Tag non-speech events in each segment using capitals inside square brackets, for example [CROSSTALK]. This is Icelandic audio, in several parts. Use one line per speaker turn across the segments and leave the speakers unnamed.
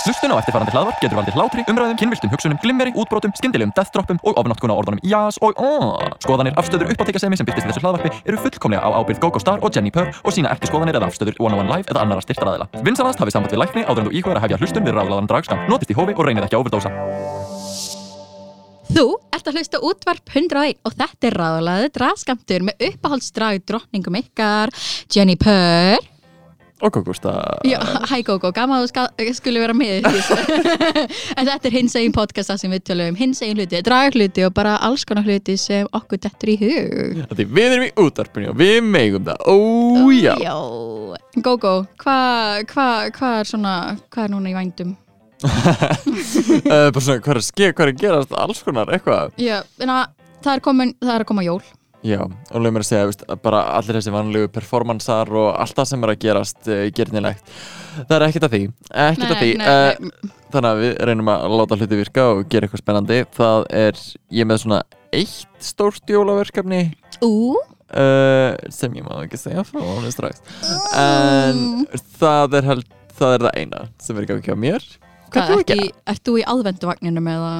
Hlustun á eftirfarandi hlaðvarp getur valdið hlátri, umræðum, kynviltum hugsunum, glimmeri, útbrotum, skyndilegum deathdroppum og ofnotkun á orðunum jás og aaaah. Skoðanir, afstöður, uppáttekasemi sem byrtist í þessu hlaðvarpi eru fullkomlega á ábyrgð GoGo Star og Jenni Purr og sína ekki skoðanir eða afstöður One on One Live eða annara styrtaraðila. Vinsanast hafið samband við lækni áður en þú íhugar að hefja hlustun við ráðlaðan dragskam. Notist í hófi og reynið ekki að overdósa.
Þú ert að hlusta á útvarp 101 og þetta er ráðalaðu draskamtur með uppáhaldsdrag drottningum ykkar Jenny Purr
Og GoGo Star.
Já, hæ Gógó, gaman að þú ska- skuli vera með í þessu. [LAUGHS] En þetta er hins eigin podcasta sem við tölum um hins eigin hluti, draghluti og bara alls konar hluti sem okkur dettur í hug
Því við erum í útarpinu og við megum það. Ó,
Já Gógó, hvað hva, hva er svona, hvað er núna í vændum?
Uh, bara svona, hvað er að ske, hvað er að gerast, alls konar, eitthvað.
Já, en að það er, komin, það er að koma jól
Já, og leið mér að segja, veist, að bara allir þessi vanlegu performansar og allt það sem er að gerast uh, gernilegt. Það er ekkert að því, ekkert að því. Eh,
nei,
Þannig að við reynum að láta hluti virka og gera eitthvað spennandi. Það er, ég er með svona eitt stórt jólaverkefni
Ú,
uh, sem ég má ekki segja frá honum strax. En
Mm.
það er held, það er það eina sem er í gangi á mér.
hvað
þú að
ert, í, ert þú í aðvenduvagninum eða?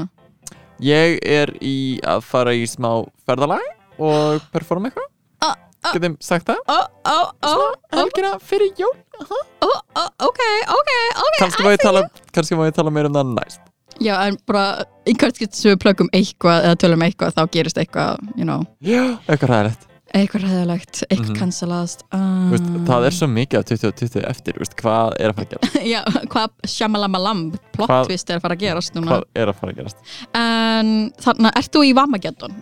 Ég er í að fara í smá ferðalag
[GASPS]
og performa eitthvað.
Ah, ah.
Getum sagt það?
Ó, ó, ó, ó,
Helgina fyrir jól.
ó, ó, ok, ok, ok
Kannski má ég tala, kannski má ég tala meira um það næst.
Já, en bara í hvert skipt sem við plöggum eitthvað eða tölum eitthvað þá gerist eitthvað, you know,
Já. Eitthvað ræðilegt.
eitthvað ræðilegt, eitthvað
Mhm.
cancelaðast.
Mm.
Uh,
Veist, það
[LAUGHS]
er svo mikið á 2020 eftir, veist, hvað er að fara að gerast?
Já, hvað sjamalamalam
Hvað-
plot twist er að fara að gerast núna.
Hvað er að fara að gerast?
En þannig, ert þú í Vamageddon?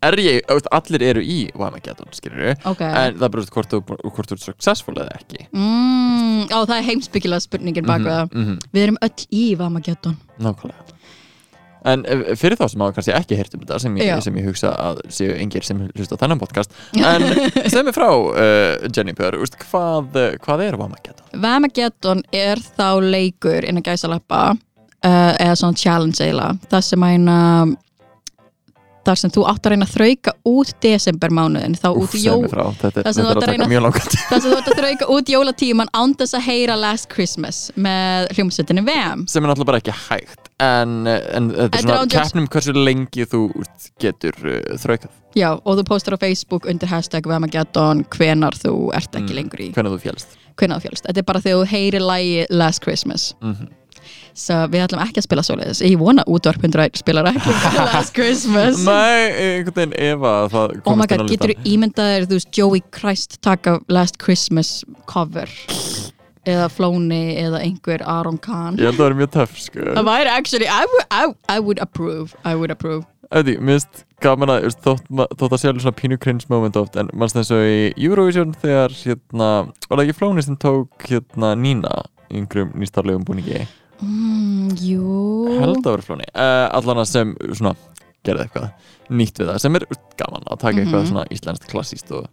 Er ég, veist, allir eru í Wamageddon, skilur við,
Ok.
en það er bara veist, hvort þú, hvort þú er successful eða ekki.
Mm, á, það er heimsbyggilega spurningin bak við það.
mm -hmm.
Við erum öll í Vamageddon.
Nákvæmlega. En eh, fyrir þá sem hafa kannski ekki heyrt um þetta sem ég,
Já.
sem ég hugsa að séu engir sem hlusta á þennan podcast en sem er frá uh, Jenny Pör, úst, hvað, eh, hvað er Vamageddon?
Vamageddon er þá leikur innan gæsalappa uh, eða svona challenge eiginlega þar sem að hérna þar sem þú átt að reyna að þrauka út desembermánuðin, þá
Úf,
út
sem
jó,
er frá, þetta er,
Það sem
þetta er að
þú ert að
taka
reyna-
mjög langt [LAUGHS]
þar sem þú átt að þrauka út jólatíman án þess að heyra Last Christmas með hljómsveitinni VM
sem er náttúrulega bara ekki hægt en, eh, en þetta
Þetta
er
er
svona
án jokes.
keppnum hversu lengi þú úst, getur uh, þraukað
Já, og þú postar á Facebook undir hashtag Vamageddon hvenar þú ert
Mm.
ekki lengur í
hvernig þú fjálst
hvenar þú fjálst, þetta er bara þegar þú heyri lægi Last Christmas
Mhm.
Svo við ætlum ekki að spila svoleiðis Ég vona útvarpundur að spila ekki [LAUGHS] Last Christmas
Nei, einhvern veginn ef að það
Oh my
komist inn á
god, getur
listan
þú ímyndað þér, þú veist, Joey Christ taka Last Christmas cover eða Flóni eða einhver Aron Kahn
Ég held að það er mjög töff sko
Það væri actually, I would, I, I would approve I would approve
Ætti, minnst gaman að úst, þótt, ma- þótt að sé alveg svona pínu cringe moment oft en mannst eins og í Eurovision þegar hérna, var það ekki Flóni sem tók hérna Nína í einhverjum nýstarlegum búningi
mm, Jú
held að vera Flóni uh, allan að sem svona gerði eitthvað nýtt við það sem er úst, gaman að taka eitthvað
Mhm.
svona íslenskt klassíst og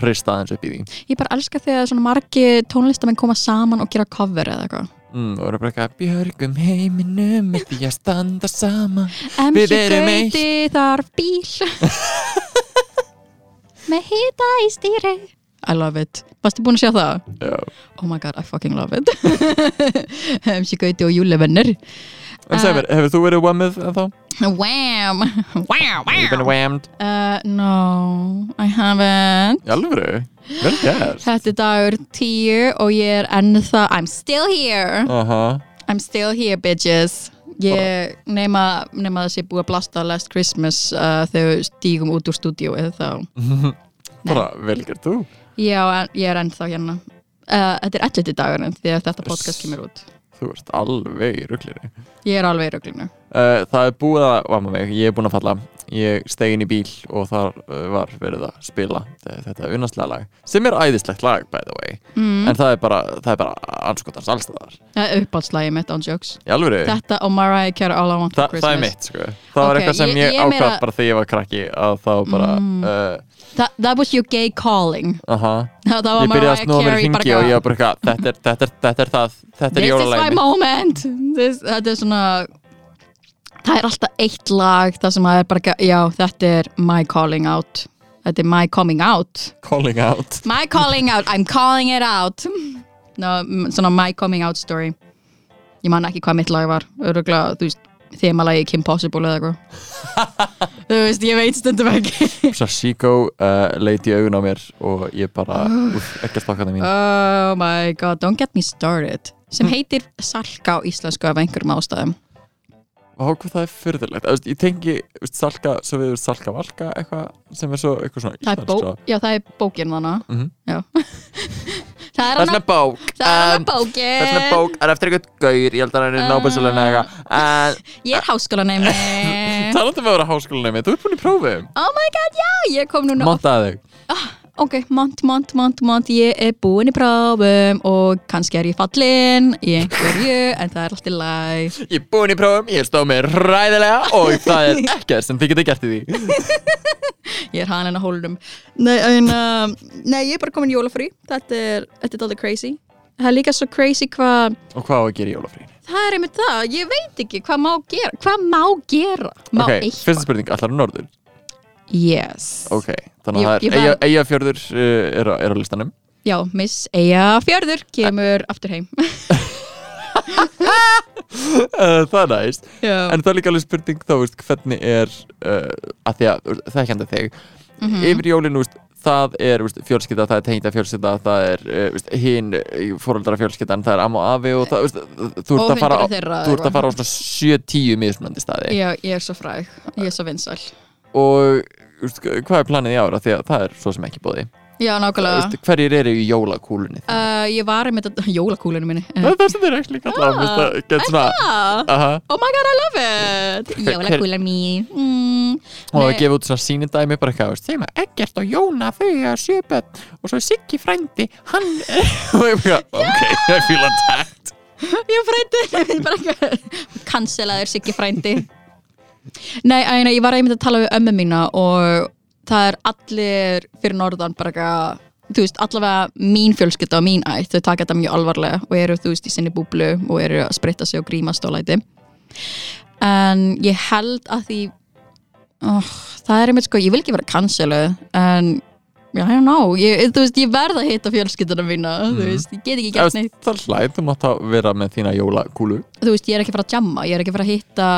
hrista aðeins upp í því
Ég bara elska þegar svona margi tónlistamenn koma saman og gera cover eða eitthvað
mm, og eru bara eitthvað björgum heiminum með því að standa saman
MC
Við erum
Gauti þarf bíl
[LAUGHS]
með hita í stýri I love it Varstu búin að sjá það?
Já.
Oh my god, I fucking love it [LAUGHS] MC Gauti og Júli vennir
en segir mér, hefur þú verið whammið en þá?
Wham! [LAUGHS] Wow,
You've been
wow!
whammed
Uh, no, I haven't.
í alvöru, vel gert
Þetta er dagur 10 og ég er ennþá, I'm still here.
aha
I'm still here, bitches. Ég nema, nema þessi búið að blasta Last Christmas uh, þegar við stígum út úr stúdíóið þá.
bara vel gert þú
Já, en- ég er ennþá hérna. Uh, þetta er 11. dagurinn því að þetta podcast kemur út.
þú ert alveg í rugglinni
Ég er alveg í röglinu.
uh, það er búið að vama mig, ég er búin að falla ég steig inn í bíl og þar uh, var verið að spila eh, þetta unnastlega lag sem er æðislegt lag by the way
Mm.
en það er bara, það er bara anskotans allstæðar
Það er uppáhaldslægi mitt on jokes.
í alvöru
Þetta og Mariah Carey All I Want
Þa, það
for
er
Christmas.
mitt sko Það var
Ok,
eitthvað sem
ég-
ég,
ég
ákvað
meira-
bara þegar ég var krakki að þá bara mm. uh,
That, that was your gay calling.
aha,
Það var
Ég byrjaði að
Mariah
snúa mér í
Carey bara
hringi og
eitthvað-
ég var bara eitthvað þetta, er- þetta, er- þetta er það, þetta er
This is my
jólalæmi
moment This, Þetta er svona Það er alltaf eitt lag Það sem að er bara ekki- Já, þetta er my calling out Þetta er my coming out
Calling
[LAUGHS]
out
My calling out, I'm calling it out no, m- Svona my coming out story ég man ekki hvað mitt lag var öruglega, þú veist, þemalagi Kim Possible eða
[LAUGHS]
eitthvað þú veist, ég veit stundum ekki
Sasíko uh, leiti í augun á mér og ég bara,
Ah.
úf, ekki að stakka það mín
oh my god, don't get me started
Hm.
sem heitir Salka á íslensku af einhverjum ástæðum
Vá, hvað það er fyrðilegt Ég tengi þú veist, salka, svo við erum salka valka eitthvað sem er svo eitthvað svona
það er, bó,
íslenska.
já, það er bókin þannig
Mhm.
Já. [LAUGHS] það er
Það er
hann
svona sko. bók
það er
em,
um, bókin
Það er svona bók, það er eftir eitthvað gaur Ég held að hann er
Ah.
nábæðsvöldin eitthvað
ég er háskólanæmi Eh.
[LAUGHS] Það er alltaf um að vera háskólanæmi, þú ert búin í prófum
oh my god, já, ég kom núna
Montaði þig
ok, mont, mont, mont, mont ég er búin í prófum og kannski er ég fallin í einhverju, en það er allt í læg
Ég er búin í prófum, ég stóð mér ræðilega og það er ekkert sem þið getið gert í því
ég er hann en að hólum nei, en, um, nei, ég er bara komin í jólafrí þetta er, þetta er alltaf crazy það er líka svo crazy hvað
Og hvað á að gera í jólafrí?
það er einmitt það, ég veit ekki hvað má gera hvað má gera, má
Ok,
eitthvað
fyrsta spurning, allar á norður
yes,
Ok, þannig
Ég-
að
ég
það
var-
er eigafjörður er á- er á listanum
já, Miss Eja Fjörður kemur aftur heim
Uh, Það er næst
[LAUGHS] já,
En það er líka alveg spurning þá, veist, hvernig er uh, að því að, þú veist, þekkjandi þig
Mhm.
yfir jólinu, veist, það er veist, fjölskylda, það er tengda fjölskylda það er, uh, veist, hinn fóröldara fjölskyldan, það er amma og afi og það, veist, þú ert
og
að fara á
hundra þeirra
þú ert
eitthvað.
að fara á svona 7-10 mismunandi staði
já, ég er svo fræg, ég er svo vinsal
og veist, hvað er planið í ára því að það er svo sem ekki bóði
já, nákvæmlega
hverjir eru í jólakúlunni þinni?
Uh, ég var einmitt að [LAUGHS] jólakúlunum minni
það er það sem þeir ekki kalla
Ah,
ah, það get svona
ah,
aha,
Oh my god, I love it Jólakúlan mín mm,
og að
Nei.
gefa út svona sínindæmi bara eitthvað, veist, þeim að Eggert og Jóna þau er sjöböld og svo er Siggi frændi hann [LAUGHS] og ég bara, ok, ég fíla tætt
Ég frændi [LAUGHS] ég bara ekki- Cancelaður Siggi frændi Nei, æ, nei, ég var einmitt að tala við ömmu mína og það er allir fyrir norðan bara eitthvað þú veist, allavega mín fjölskylda og mín ætt, þau taka þetta mjög alvarlega og eru, þú veist, í sinni búblu og eru að spritta sig og grímast og læti en ég held að því oh, það er einmitt sko, ég vil ekki vera canceluð en, já, I don't know ég, þú veist, ég verð að hitta fjölskyldana mína þú veist, ég get ekki
Já,
gert neitt
veist, það er hlæð, þú mátt að vera með þína jólakúlu
þú veist, ég er ekki að fara að jamma, ég er ekki að fara að hitta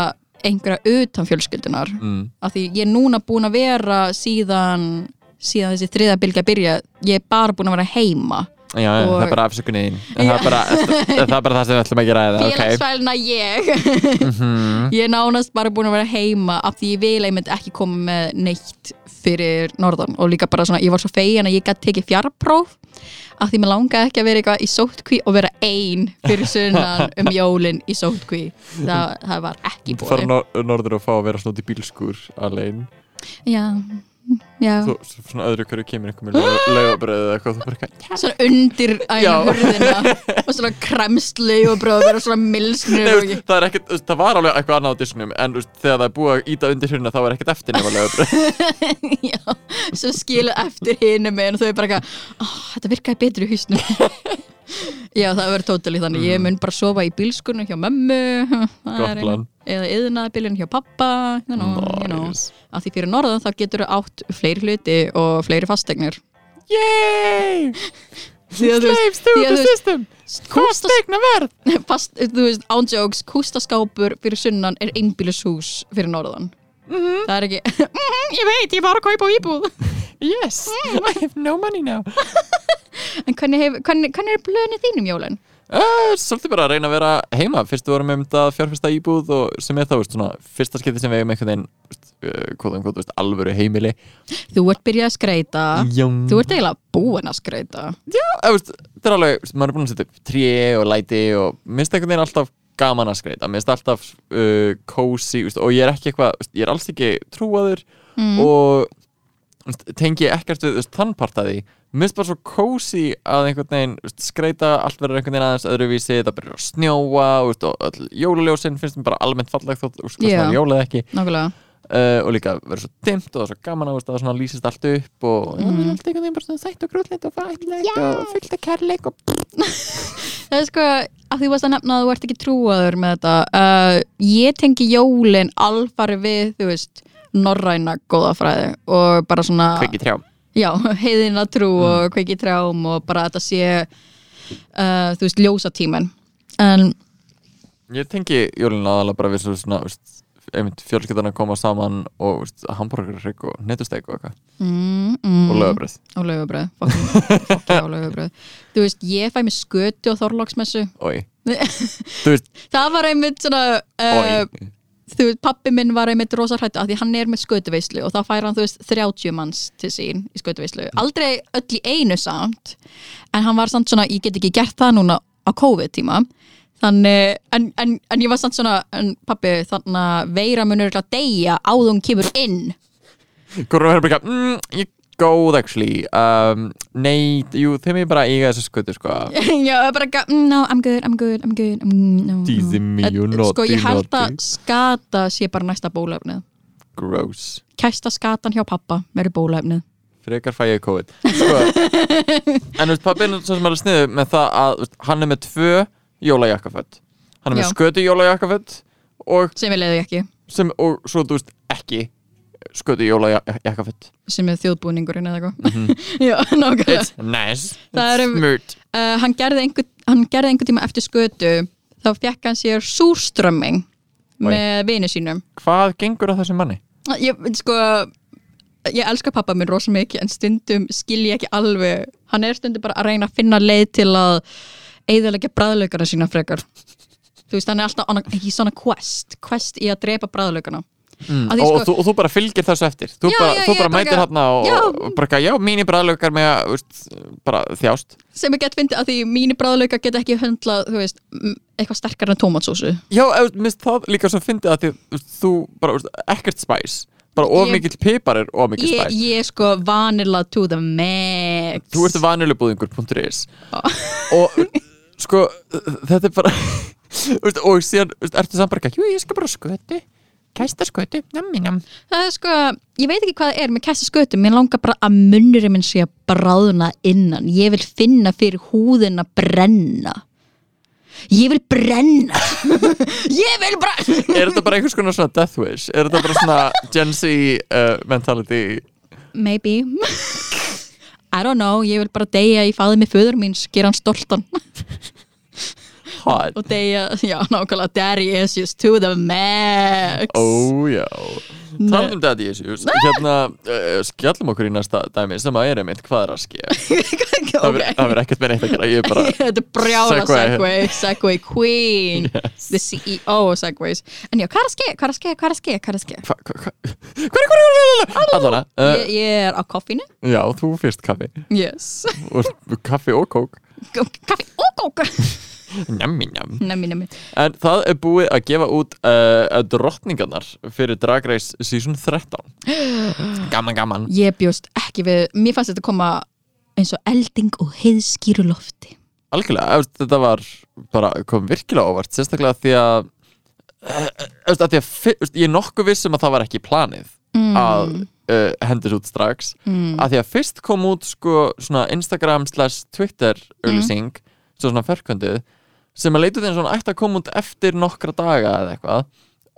einhverja utan fjölskyldunar
mm.
af því ég er núna búin að vera síðan, síðan þessi þriða bylgja byrja, ég er bara búin að vera heima
Já, já,
Og-
það er bara afsökunin það er
[LAUGHS]
bara, það er bara það sem við ætlum að gera eða, ok, Mhm.
félagsvælna ég [LAUGHS] ég er nánast bara búin að vera heima af því ég vil einmitt ekki koma með neitt fyrir norðan og líka bara svona, ég var svo fegin að ég gæti tekið fjarrpróf af því mér langaði ekki að vera eitthvað í sótkví og vera ein fyrir sunnan um jólin í sótkví það, það var ekki
þú fara
búin
nor- norður og fá að vera svona út í bílskur alveg,
já, já
þú, svona öðru hverju kemur einhver með laugabröð eða eitthvað, þú bara eitthvað
svona undir
[LAUGHS]
æna
Já.
hurðina og svona kremsli og bara vera svona
Nei,
milsnur og
veist, það, er ekkert, veist, það var alveg eitthvað annað á disnum en veist, þegar það er búið að íta undir hérna þá er ekkert eftir
[LAUGHS]
nema lögabröð
ég- [LAUGHS] já, svo skilu eftir hinu megin og þau er bara eitthvað, oh, þetta virkaði betur í húsnum [LAUGHS] já, það verður tótali þannig, ég mun bara sofa í bílskunum hjá mömmu [LAUGHS] það
Mm. Gott
er
plan.
eða yðnaðabilin hjá pappa you know,
Mm,
you know.
Nice.
af því fyrir norðan þá getur þau átt fleiri hluti og fleiri fastegnir
[LAUGHS] Yay!
því að þú
Slaves to
því að
the
þú veist-
system!
kústas,
Fastegna verð!
[LAUGHS] fast, þú veist, ándjóks, kústaskápur fyrir sunnan er einbílishús fyrir norðan. Það er ekki, [LAUGHS] Mhm, ég veit, ég var að kaupa á íbúð.
Yes! Mm, I have no money [LAUGHS] now
En hvernig, hef, hvernig, hvernig er blöðinu þínum jólinn?
Uh, svolítið bara að reyna að vera heima Fyrst við vorum um þetta fjárfesta íbúð og sem er þá veist, svona, fyrsta skipti sem við eigum einhvern veginn veist, uh, kvóðum kvóðum veist, alvöru heimili
Þú ert byrjað að skreita,
Já,
þú ert eiginlega búin að skreita.
Eh, veist, það er alveg, veist, maður er búin að setja upp tré og læti og minnst einhvern veginn alltaf gaman að skreita, minnst alltaf uh, cozy veist, og ég er ekki eitthvað, veist, ég er alls ekki trúaður og veist, tengi ekkert við veist, þannpartaði minnst bara svo cozy að einhvern veginn veist, skreita, allt verður einhvern veginn aðeins öðruvísi, það byrjar að snjóa veist, og öll jóluljósin finnst mér bara almennt fallegt þótt, veist, hvort
Já.
það er jólað ekki
Nákvæmlega.
uh, og líka verður svo dimmt og það er svo gaman að það svona lýsist allt upp og mm.
Mhm.
allt einhvern veginn bara svona sætt og grúllegt og fætlegt og fullt af kærleik og
Það er sko, að þú varst að nefna að þú ert ekki trúaður með þetta. Uh, ég tengi jólinn alfari við, þú veist, norræna góðafræði og bara svona...
kveikið trjám
Já, [LAUGHS] heiðina trú og kveiki trjám og bara að þetta sé uh, þú veist, ljósa tímen en
Ég tengi jólina aðalega bara við svo svona, veist, einmitt fjölskyldan að koma saman og veist, hambúrgarrygg og netustek og eitthvað
mm, mm,
og lögabrið.
og lögabröð fokkilega og lögabröð þú veist, ég fæ mér skötu á Þorlóksmessu [LAUGHS]
Oi. Þú veist,
það var einmitt svona uh,
oi.
þú veist, pappi minn var einmitt rosa hrættu af því hann er með skötuveislu og þá fær hann þú veist 30 manns til sín í skötuveislu aldrei öll í einu samt en hann var samt svona, ég get ekki gert það núna á COVID tíma þannig, en, en, en ég var samt svona en pappi, þannig að veira munur að deyja áður hún kemur inn [LAUGHS]
Hvorum verður bara ekki mm, ég góð actually um, Nei, jú, þeim ég bara að eiga þessu skutu sko
Já, það er bara eitthvað, mm, no, I'm good, I'm good, I'm good I'm, no,
Dísi
no.
mín, you
En,
naughty,
Sko, ég held að
naughty.
skata sé bara næsta bólefnið
Gross
Kæsta skatan hjá pappa verður bólefnið
Frekar fæ ég COVID
[LAUGHS]
sko. En þú veist, pappi er nú svo sem alveg sniðu með það að þú veist, hann er með tvö jólajakkaföld Hann er með
Já.
skötu jólajakkaföld og,
sem við leiðu ekki
sem, og svo, þú veist, ekki skötu jólajakkaföld
sem er þjóðbúningurinn eða eitthvað
Mhm.
[LAUGHS] Já, nákvæmlega
It's nice,
Það
it's
er-
smart
uh, hann, gerði einhver, hann gerði einhver tíma eftir skötu þá fekk hann sér súrströmming
Oj.
með vini sínum
Hvað gengur að þessum manni?
ég, sko, ég elska pappa minn rosa mikið en stundum skil ég ekki alveg hann er stundum bara að reyna að finna leið til að eigðalega bræðlaugana sína frekar þú veist hann er alltaf on a, he's on a quest, quest í að drepa bræðlaugana
Mm,
Að því
og,
sko-
þú, og þú bara fylgir þessu eftir Þú
Já,
bara,
já,
þú
ég
bara
bara
mætir
eitthvað-
hérna og,
Já.
og bara, eitthvað, já, mínir bræðlökar með að, veist, bara þjást
sem ég get fyndið að því mínir bræðlauga get ekki höndlað þú veist, m- eitthvað sterkar en tómatsósu
Já, eða, minnst það líka svo fyndið að því, þú, þú bara, veist, ekkert spæs bara of
Ég-
mikill pipar er of mikill
ég,
spæs
ég er sko vanilla to the max
Þú ert vanilubúðingur.is og sko þetta er bara [LAUGHS] veist, og síðan veist, ertu samt bara ekki Jú, ég skal bara skötu, kæsta skötu nammi nam
það er sko, ég veit ekki hvað það er með kæsta skötum, mér langar bara að munnurinn minn sé að bráðna innan ég vil finna fyrir húðina brenna ég vil brenna [LAUGHS] ég vil brenna
Er þetta bara einhvers konar svona death wish? Er þetta bara svona Gen Z uh, mentality?
maybe [LAUGHS] I don't know, ég vil bara deyja í faði með föður mín, gera hann stoltan
Hot
og deyja, [LAUGHS] já nákvæmlega daddy issues to the max [LAUGHS]
Ó, Oh, já Talum um daddy issues Hérna, uh, skjallum okkur í næsta dæmi sem að er einmitt hvað er að ske Það
okay.
verður ekkert með neitt að gera Ég er bara
[LAUGHS] Þetta er brjála
Segway.
Segway, Segway Queen The CEO of Segways En já, hvað er að ske, hvað er að ske, hvað er að ske, hvað er að ske
Hva- hva- hva- Hvað er, hvað er, hvað er Allana, uh,
ég, ég er á koffinu
já, þú fyrst kaffi
Yes
Og Kaffi og kók
Kaffi og [LAUGHS] kók
Njami, njami
Nemi, nemi
En það er búið að gefa út uh, drottningarnar fyrir Drag Race Season 13 Gaman, gaman
Ég bjóst ekki við, mér fannst þetta koma eins og elding og heiðskýru lofti
Algjörlega, eftir, þetta var bara kom virkilega óvart Sérstaklega því að eftir, að því að fi- eftir, Ég er nokkuð viss um að það var ekki planið að uh, hendis út strax mm. að því að fyrst kom út sko, svona Instagram slash Twitter auðlýsing, svo svona ferkvöndið sem að leita þeim svona ætti að koma út eftir nokkra daga eða eitthvað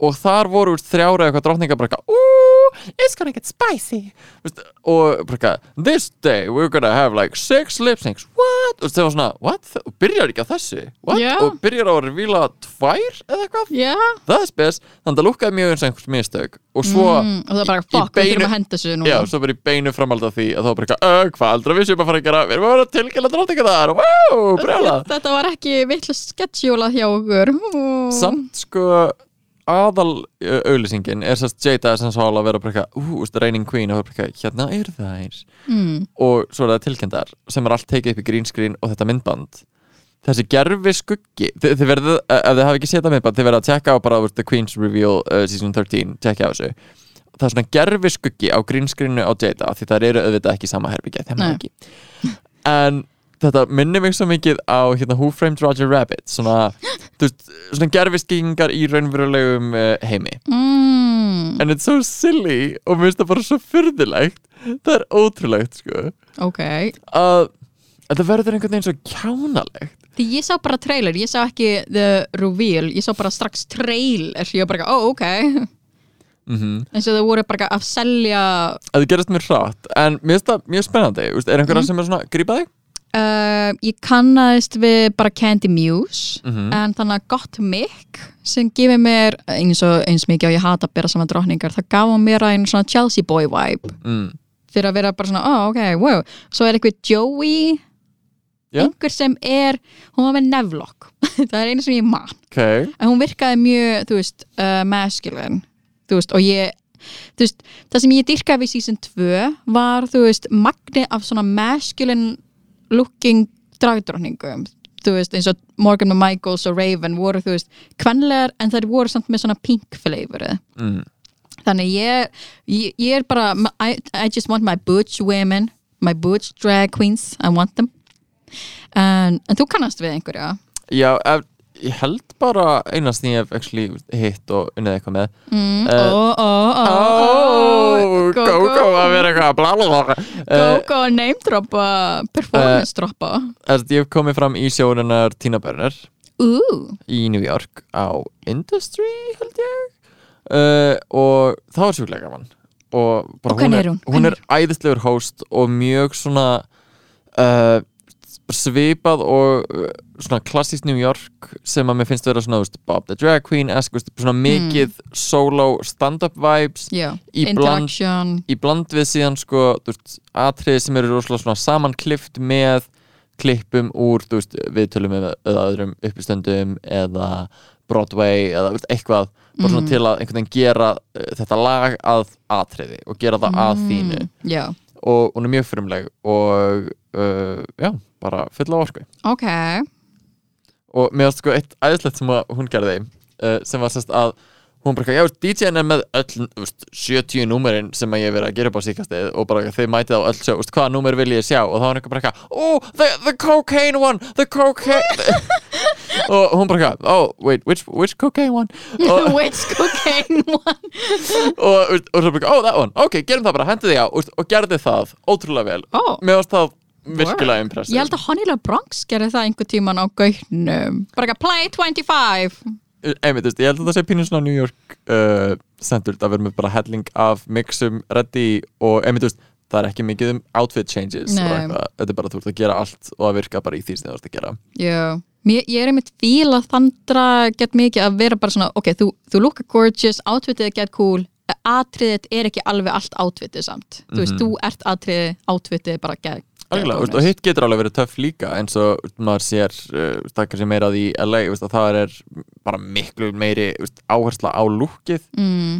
og þar voru úr þrjára eitthvað drottningar bara eitthvað, ooh, it's gonna get spicy Vist, og bara eitthvað this day we're gonna have like six lip syncs what, og það var svona, what og byrjar ekki á þessu, what,
Já.
og byrjar á að revíla tvær eða eitthvað
Já
það er spes, þannig að það lúkkaði mjög eins og einhvers mistök og svo
mm, Og það var bara,
Sko, Í- í
fuck, við
beinu-
þurfum að henda þessu núna
Já, svo bara í beinu framhald af því að þá bara eitthvað, ögh, hvað aldrei við séum að fara að gera, við erum að vera að tilkynna dráttinga þar, wow, brjála.
Þetta var ekki vittlust sketsjólað hjá okkur
Samt sko, aðal uh, auðlýsingin er sérst Jada sem svo alveg að vera bara eitthvað, ú, veist, reigning queen og það er bara eitthvað, hérna eru þær.
mm.
Og svo er það tilkynntar sem er allt tekið upp í green screen og þetta myndband. Þessi gerfi skuggi, þi- þið verðið, eh, ef þið hafi ekki séð það myndband, þið verðið að tjekka á bara, veist, The Queen's Reveal uh, Season 13, tjekka á þessu. Það er svona gerfi skuggi á green screenu á Jada af því það eru auðvitað ekki í sama herbyggja, þeim
Nei.
er ekki. en þetta minnir mig svo mikið á hérna, Who Framed Roger Rabbit svona, þú veist, svona gerfiskingar í raunverulegum uh, heimi
Mm.
en it's so silly og mér finnst það bara svo fyrðilegt það er ótrúlegt sko
Ok,
að þetta verður einhvern veginn svo kjánalegt
Því ég sá bara trailer, ég sá ekki the reveal, ég sá bara strax trailer ég var bara, ó, ok
mm
eins og þau voru bara að selja
Mhm. að það gerist mér hratt en mér finnst það mjög spennandi Þú veist, er einhverja sem er svona grípaði
uh, ég kannaðist við bara Candy Muse
Mhm.
en þannig að gott mikk sem gefið mér eins og eins mikið og ég hata að bera saman drókningar það gaf hún mér að einu svona Chelsea boy vibe
Mm.
fyrir að vera bara svona, oh ok, wow svo er eitthvað Joey
Já.
einhver sem er, hún var með neflokk [LAUGHS] það er einu sem ég man
Ok.
en hún virkaði mjög, þú veist, uh, masculine þú veist, og ég þú veist, það sem ég dyrkaði við season 2 var, þú veist, magni af svona masculine looking dragdrottningum þú veist, eins og Morgan Michaels og Raven voru, þú veist, kvenlegar en þær voru samt með svona pink flavorið
Mm.
þannig ég, ég, ég er bara I, I just want my butch women my butch drag queens, I want them en, en þú kannast við einhverja
Já, ef, ég held bara eina sem ég hef actually hitt og unnið eitthvað með
mm,
Eh,
ó, ó, ó, ó,
Ó, Gógó að vera eitthvað bla bla bla Eh,
Gógó að name droppa performance droppa
þess að Ég hef komið fram í sjónunar Tina Burner
Ú,
í New York á Industry held ég uh, og það var sjúklega gaman og, bara
Og hvernig er hún?
Hún er
Hvernig
æðislegur host og mjög svona uh, svipað og uh, svona klassíst New York sem að mér finnst vera svona þú veist, Bob the Drag Queen esk, veist, svona
Hmm.
mikið solo stand-up vibes
já,
Í bland-
interaction
í bland við síðan sko þú veist, atriði sem eru rosalega svona samanklift með klippum úr þú veist, viðtölum eða eða öðrum uppistöndum eða Broadway eða þú veist, eitthvað bara svona til að einhvern veginn gera uh, þetta lag að atriði og gera það að þínu
Mm, já,
og hún er mjög frumleg og uh, já, bara full af orku
ok
og mér varst sko eitt æðislegt sem að hún gerði uh, sem var sérst að hún bara, eitthvað, já, DJ-n er með öll úst, 70 númerinn sem að ég hef verið að gera upp á síkastið og bara þau mætið á öll sjó, úst, hvaða númer vil ég sjá og þá var hann eitthvað bara eitthvað, oh, the, the cocaine one, the cocaine [LAUGHS] og hún bara, eitthvað, oh, wait, which, which cocaine one og,
[LAUGHS] which
[LAUGHS]
cocaine one
og, úst, og svo bara, oh, that one, ok, gerum það bara, hendi því á úst, og gerði það ótrúlega vel
Ó.
mér varst það virkilega impressive
ég held að Honey LeBronx gerði það einhver tíman á gautnum bara ekki play 25
einmitt, þú veist, ég held að það sé pínu svona New York uh, sendult að vera með bara helling af mixum, ready og einmitt, þú veist, það er ekki mikið um outfit changes og
Nei.
eitthvað, þetta er bara þú ert að gera allt og að virka bara í því sem þú ert að gera
Já, Mér, ég er einmitt fíl að þandra gett mikið að vera bara svona, ok, þú, þú lukka gorgeous, outfitið er gett cool en atriðið er ekki alveg allt outfitið samt þú veist, þú ert atriðið, outfitið er bara gett
Mhm. Algjörlega, þú veist, og hitt getur alveg verið töff líka eins og þú veist, maður sér uh, það kannski meira því í LA, þú veist, að það er bara miklu meiri þú veist, áhersla á lúkið
mm,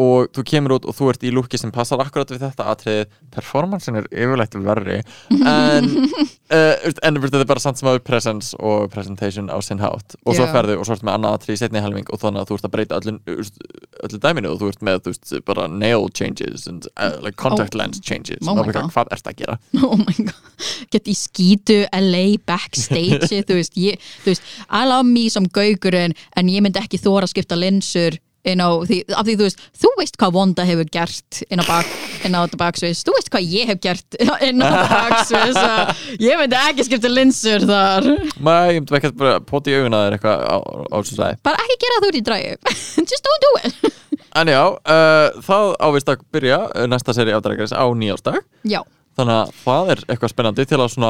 og þú kemur út og þú ert í lúki sem passar akkurat við þetta atrið performansin er yfirleitt verri
[LAUGHS]
en, uh, en þú veist, þetta er bara samt sem áður presence og presentation á sinn hátt og svo
Já.
ferðu og svo ert með annað atrið í setni helming og þannig að þú ert að breyta öllu, þú veist, öllu dæminu og þú ert með þú veist, bara nail changes and, uh, like contact lens changes
Oh my
og bara,
God.
hvað ert að gera
[LAUGHS] oh my god gett í skítu, LA, backstage
[LAUGHS]
þú veist, ég, þú veist, I love me som gaugurinn, en ég myndi ekki þóra að skipta linsur you know, því, af því þú veist, þú veist hvað Wanda hefur gert inn á, bak, inn á þetta baksviðs þú veist hvað ég hef gert inn á, inn á þetta
[LAUGHS]
baksviðs að ég myndi ekki skipta linsur þar
maður, ég myndi ekki að bara poti í auguna þér eitthvað á, á þessu slæði
bara ekki gera það út í dræju [LAUGHS] just don't do it [LAUGHS]
en já, uh, það ávist að byrja uh, næsta seri af Dragaris á nýjársdag
já,
Þannig að það er eitthvað spennandi til að svona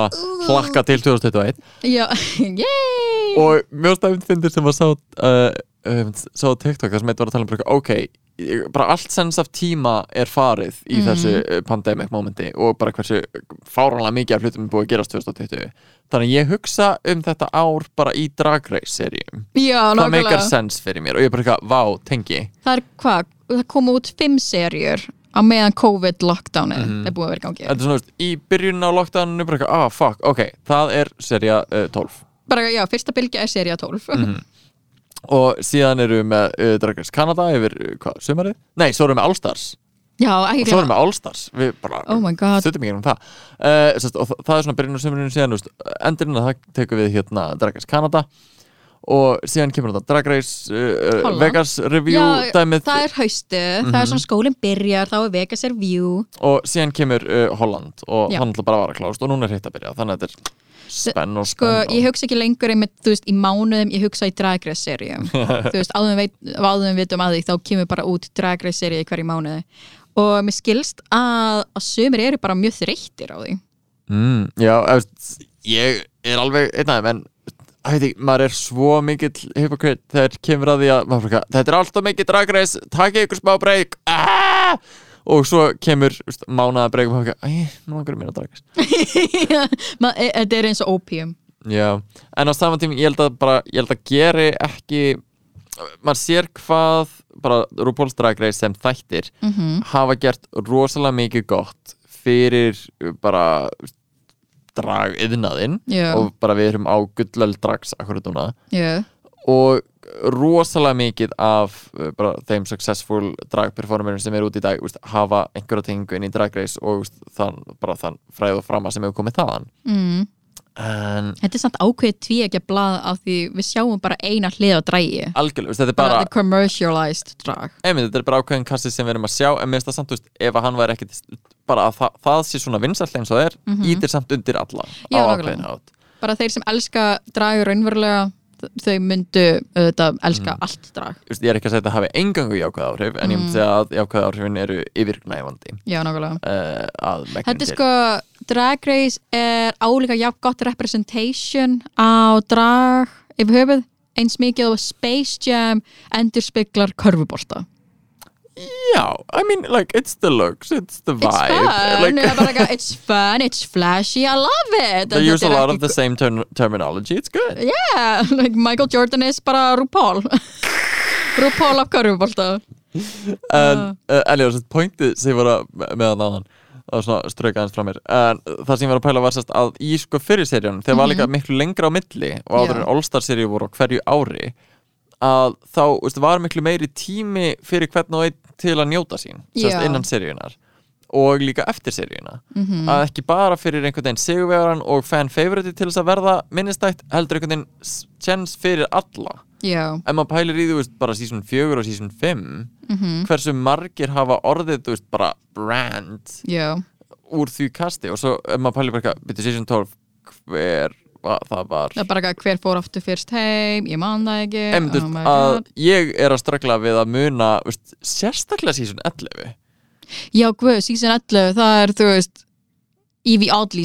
hlakka til 2021
já, [LAUGHS] yay
og mjög stæðum fyndir sem að sá uh, um, sá á TikTok þar sem eitt var að tala um bara, eitthvað, ok, ég- bara allt sens af tíma er farið í þessu uh, pandemic momenti og bara hversu fáránlega mikið af hlutum er búið að gerast 2020 þannig að ég hugsa um þetta ár bara í Drag Race seríum
já,
það meikar
nákvæmlega
sens fyrir mér og ég bara eitthvað, vá, tengi
það er hvað, það koma út fimm serjur á meðan COVID-lockdownin
Mhm.
er búið að vera í gangi
Þetta er svona, þú veist, í byrjun á lockdowninu bara eitthvað, ah, fuck, ok, það er serja uh, 12
bara, já, fyrsta bylgja er serja 12
Mhm. og síðan eru við með uh, Drag Race Canada yfir, uh, hvað, sumarið? Nei, svo erum við með Allstars
[LAUGHS] já,
og
ekki
svo
gleyma
erum við með Allstars við bara
Oh my God.
stuttum ekki um það uh, sest, og þa- það er svona byrjun á sumarinu síðan þú veist, endurinn að það tekur við hérna Drag Race Canada og síðan kemur þetta Drag Race uh, uh,
Holland.
Vegas Review
já,
dæmið Mhm.
það er haustu, það er svona skólinn byrjar þá er Vegas er view
og síðan kemur uh, Holland og
Já.
hann ætla bara að vara klást og núna er hitt að byrja þannig að þetta er spenn og
sko,
spenn
ég hugsa ekki lengur einmitt, þú veist, í mánuðum, ég hugsa í Drag
[LAUGHS]
Race serjum þú veist, áðum við, áðum við vitum að því þá kemur bara út Drag Race serið í hverju mánuði og mér skilst að, að sumir eru bara mjög þreyttir á því
Mm, já, ef, ég er alveg einn af þeim en að veit ekki, maður er svo mikill hypocrite þegar kemur að því að maður fyrir, þetta er alltaf mikið dragreis, takk ykkur smá breyk aaaah og svo kemur veist, mánaða breyk og maður fyrir, æ, nú langar mér að dragreis
[LAUGHS] Ma- e- Þetta er eins og opium
Já, en á saman tíma ég held að bara, ég held að geri ekki maður sér hvað bara RuPaul's Drag Race sem þættir
Mhm.
hafa gert rosalega mikið gott fyrir bara drag yðnaðinn
Já.
og bara við erum á gullöld drags akkurat núna
Já,
og rosalega mikið af uh, bara, þeim successful dragperformerum sem eru út í dag úst, hafa einhverja tengu inn í Drag Race og úst, þann, bara þann fræð og frama sem hefur komið þaðan
mm.
en
Þetta er samt ákveðið tví ekki að blað af því við sjáum bara eina hlið á drægi
algjörlega, úst, þetta er
bara
bara
the commercialized drag
einmitt, þetta er bara ákveðin kassi sem við erum að sjá en mér finnst það samt, þú veist, ef að hann væri ekkit bara að það, það sé svona vinsall eins og það er ítir samt undir alla
Mhm.
á
Já, nákvæmlega.
ákveðin átt
bara þeir sem elska drag raunverulega þ- þau myndu auðvitað elska
Mm.
allt drag
Just, ég er ekki að segja að þetta hafi engangu jákvæð áhrif en ég
Mhm.
myndi segja að jákvæð áhrifin eru yfirgnæfandi
já nákvæmlega
uh, að megnin
þetta er
til
sko drag race er álíka jafn gott representation á drag yfir höfuð eins mikið og Space Jam endur speglar körfubolta
Já, I mean, like, it's the looks, it's the
it's
vibe
fun,
like,
Það er bara eitthvað, it's fun, it's flashy, I love
[LAUGHS]
it
They
En
use a
þetta er
lot of
ekki-
the same term terminology, it's good
yeah, [LAUGHS] like Michael Jordan is bara RuPaul [LAUGHS] RuPaul af körfubolta Ah.
En, uh, Elja, þess að pointið sem ég var að meðan áðan og svona strauka aðeins frá mér en það sem ég var að pæla var sérst að í sko fyrir seríun þegar var líka miklu lengra á milli og áður
Mhm. Já.
en All-Star seríu voru á hverju ári að þá veist, var miklu meiri tími fyrir hvern og einn til að njóta sín sérst
Já. Mhm.
innan seríunar og líka eftir seríuna að ekki bara fyrir einhvern veginn sigurvegaran og fan favorite til þess að verða minnistætt heldur einhvern veginn s- chance fyrir alla
Já,
ef maður pælir í þú veist bara season 4 og season 5
mhm,
hversu margir hafa orðið þú veist, bara brand
já
úr því kasti og svo ef maður pælir bara eitthvað, byrju season 12 hver var, það var
Það er bara eitthvað hver fór aftur fyrst heim Ég man það ekki
Em, þú
oh
veist,
my
að
god.
ég er að ströggla við að muna þú veist, sérstaklega season 11
Já, guð, season 11 Það er, þú veist Evie Oddly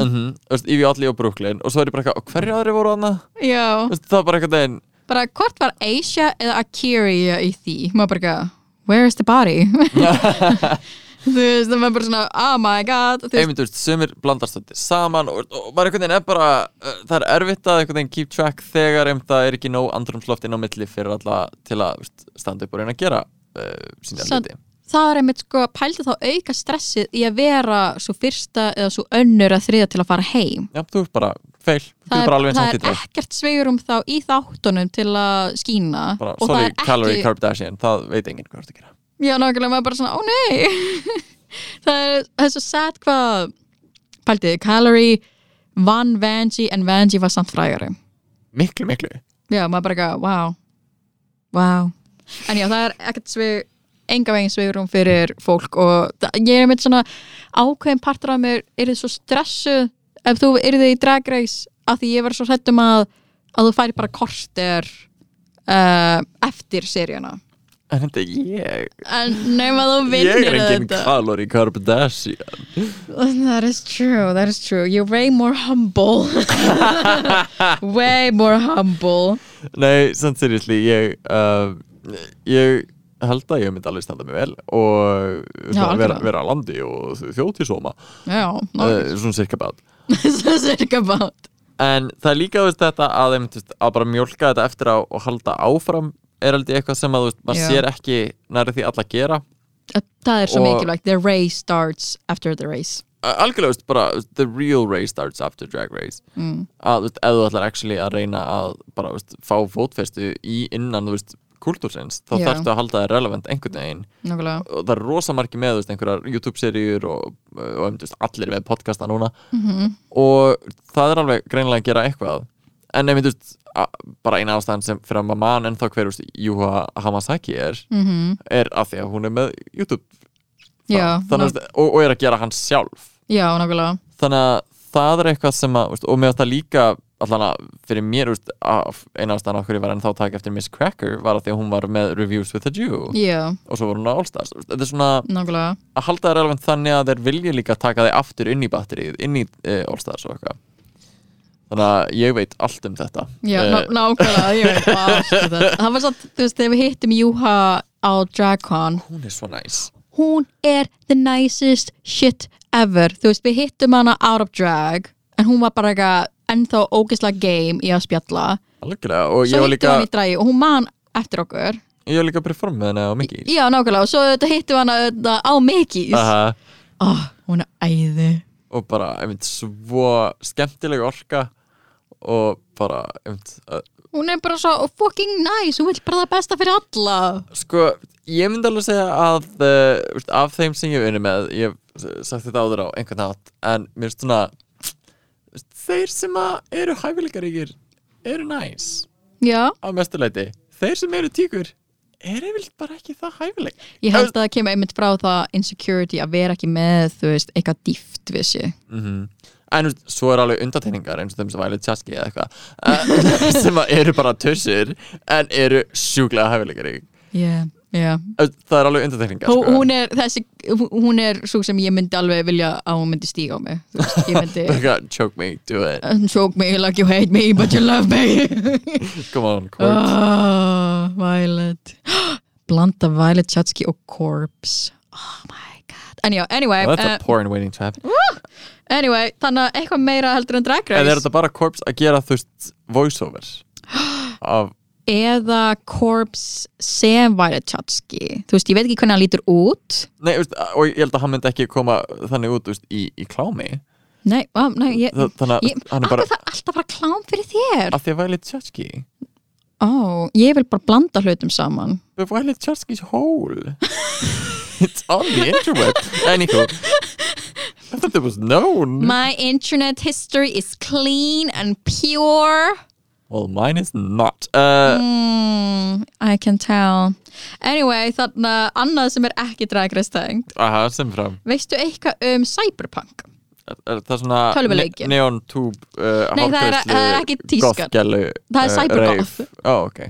mm -hmm. veist, Yvi Alli og Brooklyn og svo er ég bara eitthvað, "Og hverju aðri voru hana?
Já,
Veist, það er bara eitthvað einn
bara hvort var Asia eða Akiri í því Maður bara eitthvað Where is
[LAUGHS]
the body? [LAUGHS] þú veist, það var bara svona, oh my god Þú veist,
einmitt, þú veist, sumir blandast þetta saman og, og bara einhvern veginn er bara uh, það er erfitt að einhvern veginn keep track þegar um, það er ekki nóg andrumsloft inn á milli fyrir alla til að þú veist, standa upp og reyna að gera uh, sína
Samt-
hluti
það er einmitt sko Pældi þá auka stressið í að vera Svo fyrsta eða svo önnur að þriða til að fara heim
Já, þú ert bara feil, þú
Það
ert bara alveg
er,
eins
það
og
er
þetta
ekkert sveigurum þá í þáttunum til að skína
bara,
og
sorry,
það er
calorie
ekki
Kardashian, það veit enginn hvað þú ert að gera
Já, nákvæmlega, maður bara svona, ó nei [LAUGHS] það, er, það er svo sad hvað pæltið, Calorie vann Vanji en Vanji var samt frægari
miklu, miklu,
Já, maður bara eitthvað, wow Wow En já, það er ekkert svig enga veginn svigurum fyrir fólk og það, ég er mitt svona ákveðin partur af mér er þið svo stressu ef þú er þið í drag race af því ég var svo hrætt um að, að þú færi bara korter uh, eftir seríuna
en þetta er ég
en nema þú vinnir
ég er enginn
þetta.
calorie Kardashian
That is true, that is true. You're way more
[LAUGHS]
humble. way more humble.
nei, sann seriously, ég uh, ég held að ég myndi alveg standa mig vel og
Já,
vera, vera,
algjörlega.
vera á landi og þjóttisóma
Já, [LAUGHS]
uh, svona cirka bát
that's it about.
en það er líka þú veist, þetta að, þeim, þú veist, að bara mjólka þetta eftir á og halda áfram er aldrei eitthvað sem að þú veist, maður
Já.
sér ekki nærið því alla gera
Það er svo
Og-
mikilvægt. The race starts after the race.
Uh, algjörlega, þú veist, bara þú veist, the real race starts after drag race mm. að þú veist, ef þú ætlar actually að reyna að bara, þú veist, fá fótfestu í innan, þú veist, kultúrsins þá
Já.
þarftu að halda það relevant einhvern veginn
Nákvæmlega.
og það er rosa margi með þú veist, einhverjar YouTube-seríur og, og um, þú veist, allir með podcasta núna
Mhm.
-hmm. og það er alveg greinlega að gera eitthvað en nefnir þú veist, a- bara eina ástæðan sem fyrir að maður mann en þá hver þú veist, Juha Hamasaki er -hmm. er að því að hún er með YouTube
Mhm. Já,
Ah, þannig, að, þú veist, og, og er að gera hann sjálf
já, nákvæmlega.
þannig að það er eitthvað sem að þú veist, og mér þetta líka allan að fyrir mér þú veist, að eina ástæðan okkur ég var en þá taka eftir Miss Cracker var að því að hún var með Reviews with a Jew
Já,
og svo var hún á Allstars þetta er svona
nákvæmlega.
að halda það relevant þannig að þeir vilja líka taka þeir aftur inn í batterið, inn í uh, eh, Allstars og eitthvað þannig að ég veit allt um þetta
Já,
Eh,
ná, nákvæmlega, ég veit bara allt um þetta. Það var satt, þú veist, þegar við hittum Júha á DragCon
hún er svo næs
Hún er the nicest shit ever Þú veist, við hittum hana out of drag En hún var bara eitthvað ennþá ógeðslega game í að spjalla
algjörlega og ég
Svo
var
hittum
líka
við hana í dragi og hún man eftir okkur
ég var líka að performa með henni á mikið
Já, nákvæmlega, og svo þetta hittum við hana þetta, á Mickey's uh Hún er æði
og bara einmitt svo skemmtileg orka og bara einmitt uh,
Hún er bara svo fucking nice, hún vil bara það besta fyrir alla
sko ég myndi alveg segja að uh, veist, af þeim sem ég vinni með ég hef sagt þetta áður á einhvern nátt en mér finnst svona veist, þeir sem að eru hæfileikaríkir eru næs
Já,
á mestuleiti þeir sem eru tíkur eru yfirleitt bara ekki það hæfileik
ég held að það kemur einmitt frá það insecurity að vera ekki með, þú veist, eitthvað dýft við sér
mm en veist, svo er alveg undateiningar eins og þeim sem væli tjaski eða eitthvað eh, [LAUGHS] sem að eru bara tussur en eru sjúklega hæfileikarík
yeah. yeah.
það er alveg sko. undateiningar
Hú, hún er þessi, hún er svo sem ég myndi alveg vilja að hún myndi stíga á mig Þú veist, ég [LAUGHS] myndi
Becca, choke me, do it
choke me like you hate me but you love [LAUGHS] me
come on, court
oh, Violet [GASPS] blanda Violet Chatsky og Corpse oh my god anyway, anyway,
Well, that's a
eh,
porn waiting to happen
anyway þannig að eitthvað meira heldur en Drag
En er
Race
þetta bara korps að gera þú veist voiceover
[GASPS]
af,
eða Corpse sem Violet Chatsky þú veist, ég veit ekki hvernig hann lítur út
Nei, þú veist, og ég held að hann myndi ekki koma þannig út þú veist, í, í klámi
nei, á, nei ég,
Þa- þannig að
ég,
hann
hann
er bara
það alltaf bara klám fyrir þér
af því að Violet Chachki
Ó, ég vil bara blanda hlutum saman
But Violet Chachki's hole [LAUGHS] It's on the interweb Anywho I thought it was known
My internet history is clean and pure
Well, mine is not uh,
mm, I can tell Anyway, þannig að annað sem er ekki dragrestengt
Aha, sem fram
Veistu eitthvað um cyberpunk?
er, er Það er svona
Tölvuleiki.
ne- Neon tube uh,
Nei, það er-
hárgreiðslu,
það er ekki tískan.
gothgælu,
Það er
uh,
cybergoth.
rave. Ó, ok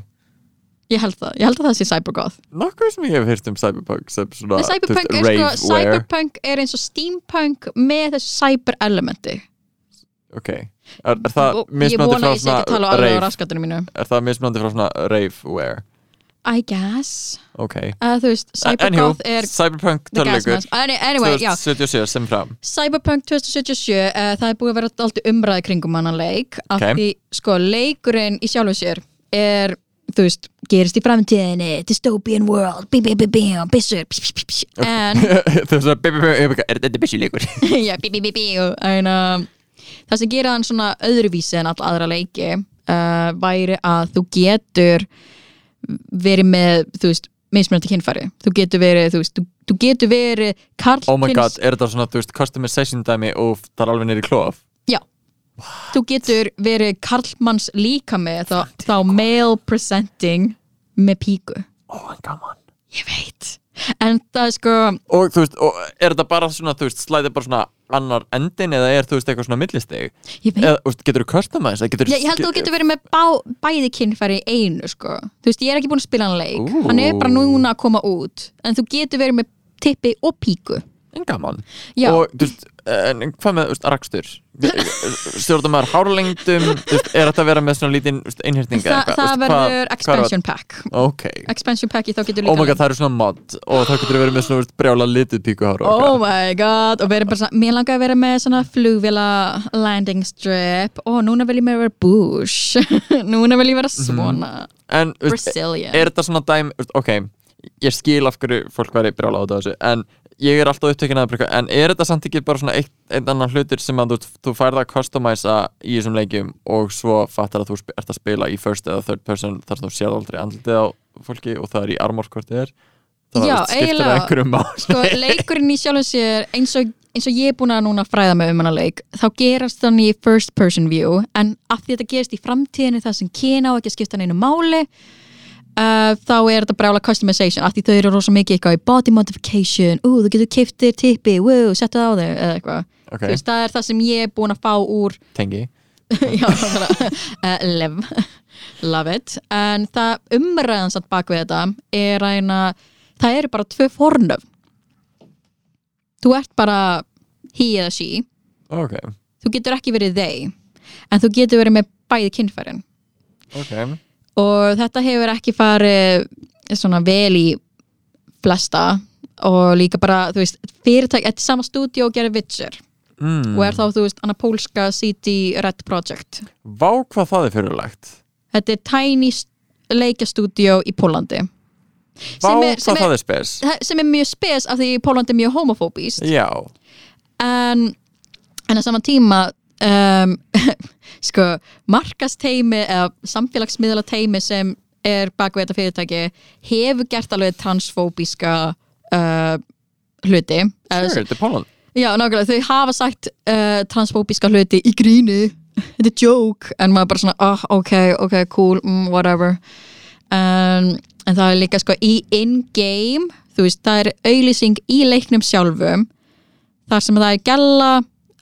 Ég held það, ég held að það sé cybergoth
Nokkuð sem ég hef hýrt um cyberpunk sem svona
Nei, cyberpunk, er sko, cyberpunk er eins og steampunk með þessu cyber elementi
Ok, er, er það
Og Ég
mismunandi
vona
frá
að ég sé ekki að tala
svona
alveg á
rave
raskatunum mínu
Er það mismunandi frá svona raveware
I guess
Ok
uh, Þú veist,
Anywho,
cybergoth er
Cyberpunk
the gas
tölugur
mask Any- Anyway, já
2077 sem fram [LAUGHS]
Cyberpunk 2077, uh, það er búið að vera alltaf umræði kringum annan leik af
Ok.
því, sko, leikurinn í sjálfu sér er, þú veist, gerist í framtíðinni, dystopian world bí, bí, bí, bí, byssur bí, bí, bí, bí. en,
Þú veist að bibi bibi bibi Er þetta byssi leikur?
[LAUGHS] já, bí, bí, bí, bí, en um, það sem gera hann svona öðruvísi en all aðra leiki uh, væri að þú getur verið með, þú veist mismunandi kynfæri, þú getur verið þú, veist, þú, þú getur verið karl
Oh my god, er þetta svona, þú veist, customization dæmi og það er alveg nýri klóf
Já Þú getur verið karlmanns líka með þá, þá male presenting með píku
Oh my god
Ég veit En það er sko
Og þú veist, og er þetta bara svona, þú veist, slæðið bara svona annar endin eða er þú veist eitthvað svona millistig?
Ég veit
Eða, þú veist, getur þú customize?
Ég, ég held að þú getur verið með bá, bæði kynfæri í einu sko Þú veist, ég er ekki búin að spila hann leik
Ú.
Hann er bara núna að koma út En þú getur verið með tippi og píku
en gaman
Já.
og þú veist, en hvað með þú veist, rakstur
[LAUGHS]
stjórnum maður hárlengdum þú veist, er þetta að vera með svona lítinn þú veist, einhyrninga
Þa, Það verður expansion pack
ok,
Expansion packi þá getur
oh
líka
my god, það eru svona mod og það getur verið með svona þú veist, brjála litið píkuhár og
Oh
eitthvað.
my god, og verið bara svona, mér langar að vera með svona flugvila landing strip og núna vil ég með vera bush [LAUGHS] núna vil ég vera
Mhm.
svona
en þú veist,
Brazilian
er þetta svona dæm þú veist, ok, ég skil af hverju fólk verið brjála á þessu, en ég er alltaf upptökin að breyka, en er þetta samt ekki bara svona eitt, einn annan hlutir sem að þú, þú færð að customiza í þessum leikjum og svo fattar að þú sp- ert að spila í first eða third person þar sem þú sér aldrei andlitið á fólki og það er í armor hvort þið er þannig
Já,
að þú skiptir það
eiginlega.
einhverju máli [LAUGHS]
sko, leikurinn í sjálfum sér eins og, eins og ég er búin að núna fræða mig um hana leik þá gerast þann í first person view en af því þetta gerist í framtíðinu það sem kyna á ekki að skipta neinu máli uh, þá er þetta brála customization af því þau eru rosa mikið eitthvað í body modification ú, þú getur kiftir tippi, wow, settu það á þau eða eitthvað
ok,
Þú veist, það er það sem ég er búin að fá úr
tengi
[LAUGHS] já, uh, lev love it, en það umræðan satt bak við þetta er að eina, það eru bara tvö fornöf þú ert bara he eða she,
ok,
þú getur ekki verið they en þú getur verið með bæði kynfærin
ok
og þetta hefur ekki farið svona vel í flesta og líka bara, þú veist, fyrirtæk þetta er sama stúdíó og gerir Witcher
mm.
og er þá, þú veist, annað pólska CD Red Project
Vá hvað það er fyrirlegt
þetta er tiny st- leikjastúdíó í Pólandi
Vá
Sem er-
hvað
sem er-
það er spes
Það- sem er mjög spes af því Pólandi er mjög homofóbíst
Já,
en en á sama tíma um, [LAUGHS] sko, markasteimi eða samfélagsmiðla teimi sem er bak við þetta fyrirtæki hefur gert alveg transfóbíska uh, hluti
sure,
Eða-
þetta er Póland
já, nákvæmlega, þau hafa sagt uh, transfóbíska hluti í grínu þetta er joke, en maður bara svona oh, ok, ok, cool, mm, whatever en, en það er líka sko í in-game, þú veist það er auðlýsing í leiknum sjálfum þar sem það er gæla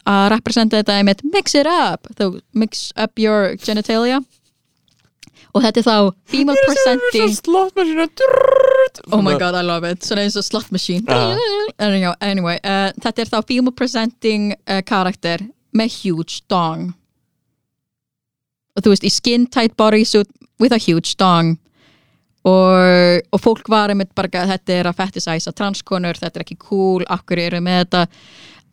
að representa þetta einmitt mix it up, þú mix up your genitalia og þetta er þá female presenting
Slott með sína
Oh my god, I love it Svona eins og slot machine
Aha.
En já, [LAUGHS] Anyway, uh, þetta er þá female presenting uh, karakter með huge dong og þú veist, í skin tight bodysuit with a huge dong og, og fólk var einmitt bara að þetta er að fetisæsa transkonur þetta er ekki cool, akkur eru með þetta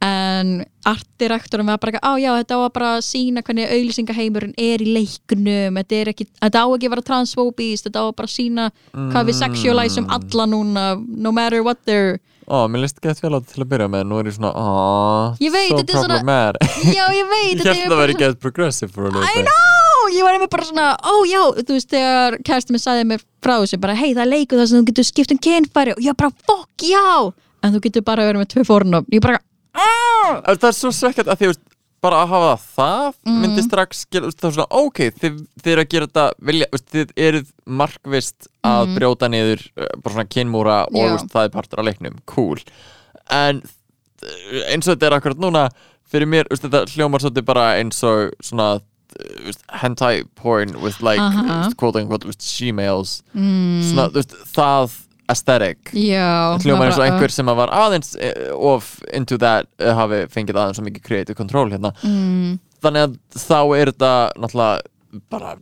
en artirektorum var bara að, á já, þetta á að bara sína hvernig auðlýsingaheimurinn er í leiknum þetta, er ekki, þetta á ekki að vera transfóbist þetta á að bara sína hvað við sexualizum alla núna, no matter what they're
Mm. Ó, mér líst gett vel á þetta til að byrja með Nú er ég svona, ó,
Ég veit,
so
þetta er svona-
problematic
[LAUGHS] já, ég veit
[LAUGHS] Ég held að
þetta er
það Hérna
bara-
væri gett progressive for a little
I
bit
know, ég var einmitt bara svona ó já, þú veist þegar kæristin minn sagði mér frá þessu, bara hei það er leiku þar sem þú getur skipt um kynfæri og ég bara fokk já en þú getur bara verið með tvö fórnum ég bara, "Ah!"
Þú veist, Það er svo svekkjart að því þú veist, bara að hafa það
Mhm.
myndi strax gera, þú veist, það er svona ok, þið, þið eru að gera þetta vilja, þú veist, þið eruð markvist að brjóta niður eh, bara svona kynmúra og
Mhm. Já.
þú veist, það er partur af leiknum, cool en eh, eins og þetta er akkurat núna fyrir mér, þú veist, þetta hljómar svolítið bara eins og svona eh, þú veist, hentai porn with like
Aha.
uh -huh. quote unquote þú veist, shemales mm. svona, þú veist, það aesthetic
já
hljóma eins og
bara, uh,
einhver sem að var aðeins eh, of into that eh, hafi fengið aðeins svo mikið creative control hérna mm. þannig að þá er þetta náttúrulega bara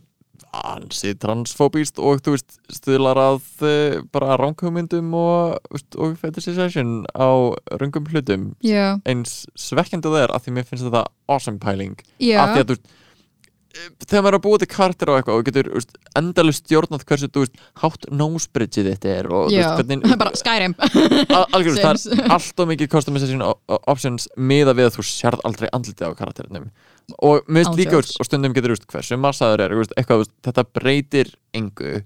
ansi transfóbíst og þú veist stuðlar að eh, bara ránkugmyndum og, þú veist, og fetishization á röngum hlutum
uh, já,
eins svekkjandi það er að því mér finnst þetta awesome pæling
Já.
að því að þú veist eh, þegar maður er að búa til kartir og eitthvað og getur þú veist, endalaust stjórnað hversu þú veist, hátt nósbridgið þitt er og þú
já
veist, hvernig
[LAUGHS] bara skærim
Al- algjörlega, það
Sims. [LAUGHS]
er allt og mikið customization o- o- options miða við að þú sérð aldrei andlitið á karakterinum og mér
Án
finnst líka,
jokes.
veist, og stundum getur veist, hversu massaður er, veist, eitthvað, veist, þetta breytir engu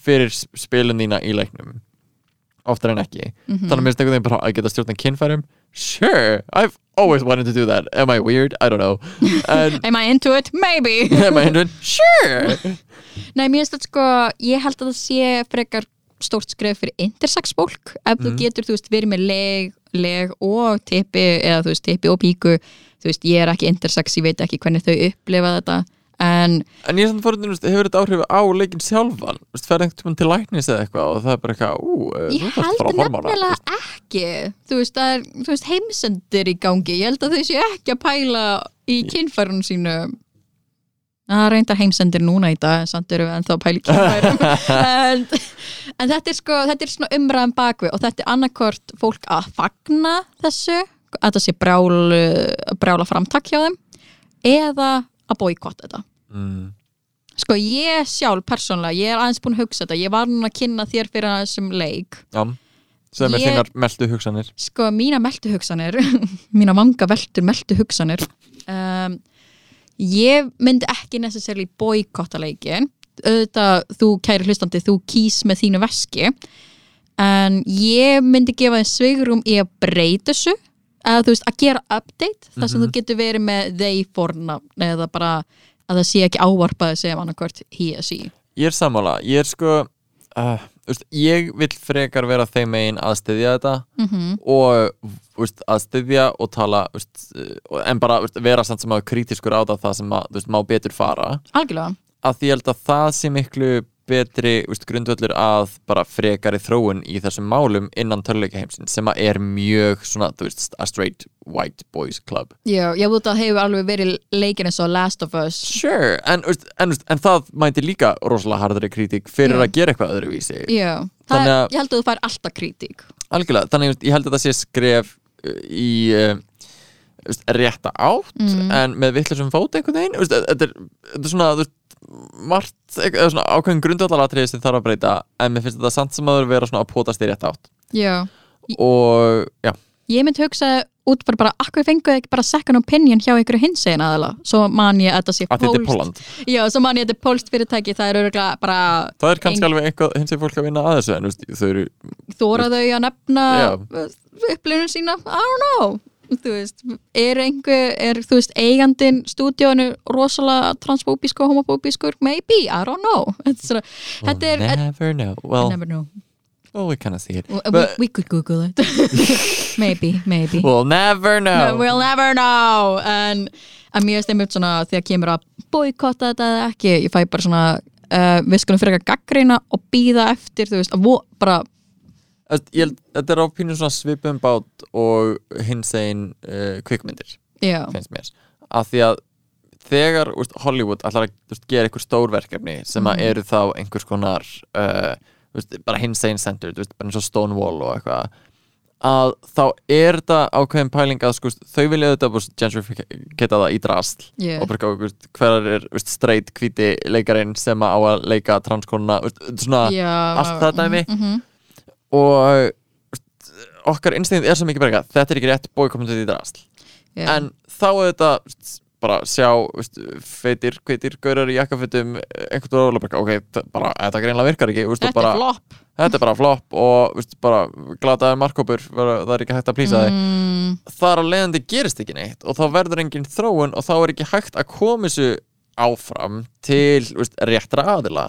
fyrir s- spilun þína í leiknum oftar en ekki,
Mhm.
þannig að mér finnst einhvern veginn bara að geta stjórna kynfærum sure, I've always wanted to do that am I weird? I don't know
[LAUGHS]
and,
am I into it? Maybe
[LAUGHS] am I hindrun? Sure
Nei, mér finnst þetta sko, ég held að það sé frekar stórt skref fyrir intersex fólk ef þú getur, þú veist, verið með leg, leg og tippi eða þú veist, tippi og píku þú veist, ég er ekki intersex, ég veit ekki hvernig þau upplifa þetta en
En ég er samt fórhundin, hefur þetta áhrif á leikin sjálfan? Þú veist, ferði einhvern tímann til læknis eða eitthvað og það er bara eitthvað, ú, eh,
ég
þú þarft að
held
fara á hormóna
nefnilega ekki þú veist, það er, þú veist, heimsendir í gangi ég held að þau séu ekki að pæla í kynfærun sínu það reyndar heimsendir núna í dag samt eru við ennþá að pæla í kynfærum
[LAUGHS]
en, en þetta er sko þetta er svona umræðan bakvið og þetta er annarkort fólk að fagna þessu að þetta sé brjál, brjála framtak hjá þeim eða að boykotta þetta
mm.
sko ég sjálf persónlega, ég er aðeins búin að hugsa þetta ég var núna að kynna þér fyrir þessum leik
Já, sem er
Ég-
þínar meldu hugsanir
sko, mína meldu hugsanir [LAUGHS] mína vanga veldur meldu hugsanir um, ég myndi ekki necessarily boykotta leikin auðvitað, þú kæri hlustandi þú kýs með þínu veski en ég myndi gefa þeim svigrum í að breyta þessu að þú veist, að gera update þar sem þú getur verið með they forna eða bara að það sé ekki ávarpaði sem annarkvort he or she
Ég er sammála, ég er sko uh, úst, ég vil frekar vera þeim megin að styðja þetta -hmm. og úst, að styðja og tala úst, en bara úst, vera samt sem að kritískur á það, það sem að, úst, má betur fara
algjörlega,
að því ég held að það sé miklu betri veist, grundvöllur að bara frekari þróun í þessum málum innan törleikaheimsin sem að er mjög svona, þú veist, a straight white boys club
Já, ég veit að hefur alveg verið leikin eins og Last of Us
Sure, en, veist, en, veist, en það mæti líka rosalega hardari kritík fyrir
Já.
að gera eitthvað öðruvísi
Já, það,
Þannig að-
ég held að þú fær alltaf kritík
Algjörlega, þannig að ég held að það sé skref uh, í uh, þú veist, rétta átt
Mm.
en með vittlisum fót einhvern veginn Þú veist, þetta er, þetta er svona þú veist, margt, eða svona ákveðin grundvallaratriði sem þarf að breyta en mér finnst þetta samt sem aður vera svona að potast í rétta átt
Já
og já,
Ég myndi hugsa út bara, bara akkur fenguð ekki bara second opinion hjá einhverju hinsegin aðala Svo man ég að þetta sé
að þetta er Póland
Já, svo man ég að þetta er pólst fyrirtæki Það er örgulega bara
það er kannski
Eng-
alveg eitthvað hins fólk að vinna að þessu en þú veist, þau eru
Þóraðau að nefna
Já.
upplifnum sína I don't know Þú veist, er einhver, er þú veist eigandin stúdíónu rosalega transfóbísku og homofóbískur, maybe, I don't know Þetta er svona,
Oh,
þetta er
we'll never know,
I
well,
never know
well we kind of see it
We,
But-
we could google it [LAUGHS] Maybe, maybe
we'll never know
no. We'll never know En en mér steimur svona þegar kemur að boykotta þetta eða ekki Ég fæ bara svona uh, Við skulum fyrir að gaggrína og býða eftir Þú veist, að vo, bara
Þú veist, ég held- þetta er á pínu svona svipum bát og hins einn uh, kvikmyndir
Já,
finnst mér af því að þegar úst, Hollywood ætlar að úst, gera einhver stór verkefni sem
Mhm.
að eru þá einhvers konar uh, úst, bara hinsane centered úst, bara eins og Stonewall og eitthvað að þá er þetta ákveðin pæling að sko, þau vilja þetta úst, gentrificata það í drasl
Yeah.
og bara úst, hver er úst, straight hvíti leikarinn sem að á að leika transkonuna úst, svona
já
allt það dæmi
mhm.
og úst, okkar instinkt er svo mikið bara eitthvað, þetta er ekki rétt bói komum til því drasl
já.
en þá auðvitað st- bara sjá veist, feitir, kveitir, gaurar í jakkafötum einhvern veginn bara, ok, þ- bara, þetta greinlega virkar ekki veist,
Þetta
og bara,
er flop
þetta er bara flopp og veist, bara, glataður markkópur vera- það er ekki hægt að plýsa þig
mm,
þar að leiðandi gerist ekki neitt og þá verður engin þróun og þá er ekki hægt að koma þessu áfram til veist, réttra aðila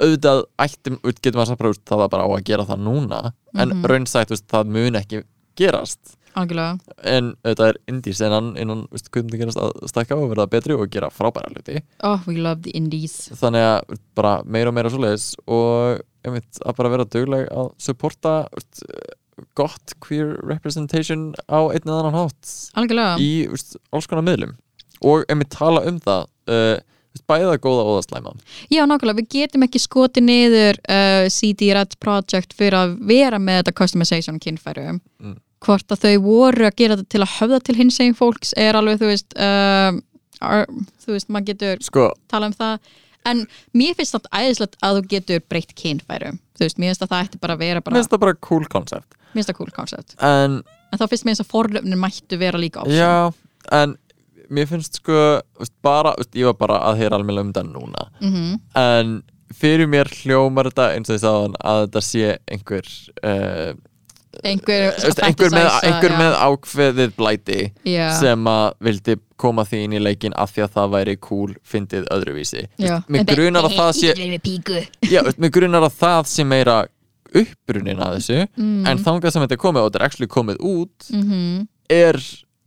auðvitað ættum, auðvitað getum að sapra það bara á að gera það núna en
Mhm.
raunsætt, veist, það mun ekki gerast
Algjörlega
en auðvitað er indie senan innan veist, kvikmyndagerðast að stakka og verða betri og gera frábæra hluti
Oh, we love the indies
þannig að bara meira og meira svoleiðis og einmitt að bara vera dugleg að supporta veist, gott queer representation á einn eða annan hátt
Algjörlega
í veist, alls konar miðlum og einmitt tala um það uh, veist, bæða góða og það slæma
Já, nákvæmlega, við getum ekki skotið niður uh, CD Red Project fyrir að vera með þetta customization kynfæru
Mm.
hvort að þau voru að gera þetta til að höfða til hins einn fólks er alveg, þú veist uh, ar, þú veist, maður getur
sko,
talað um það en mér finnst þetta æðislegt að þú getur breytt kynfæru þú veist, mér finnst að það ætti bara að vera
mér
bara,
finnst það bara cool concept
mér finnst það cool concept
en
en þá finnst mér eins að forlöfnin mættu vera líka option
Já, en mér finnst sko veist, bara, veist, ég var bara að heyra alveg um þetta núna
Mhm.
en fyrir mér hljómar þetta eins og ég sagði hann að þetta sé einhver uh,
einhver,
veist, einhver, með,
fantasize,
einhver
já.
með ákveðið blæti
Já.
sem að vildi koma því inn í leikin af því að það væri cool fyndið öðruvísi
Já.
Veist, mér grunar að það sé
Íslenskri píku.
já, veist, mér grunar að það sé meira upprunin að þessu en þangað sem þetta er komið og þetta er actually komið út
Mhm.
er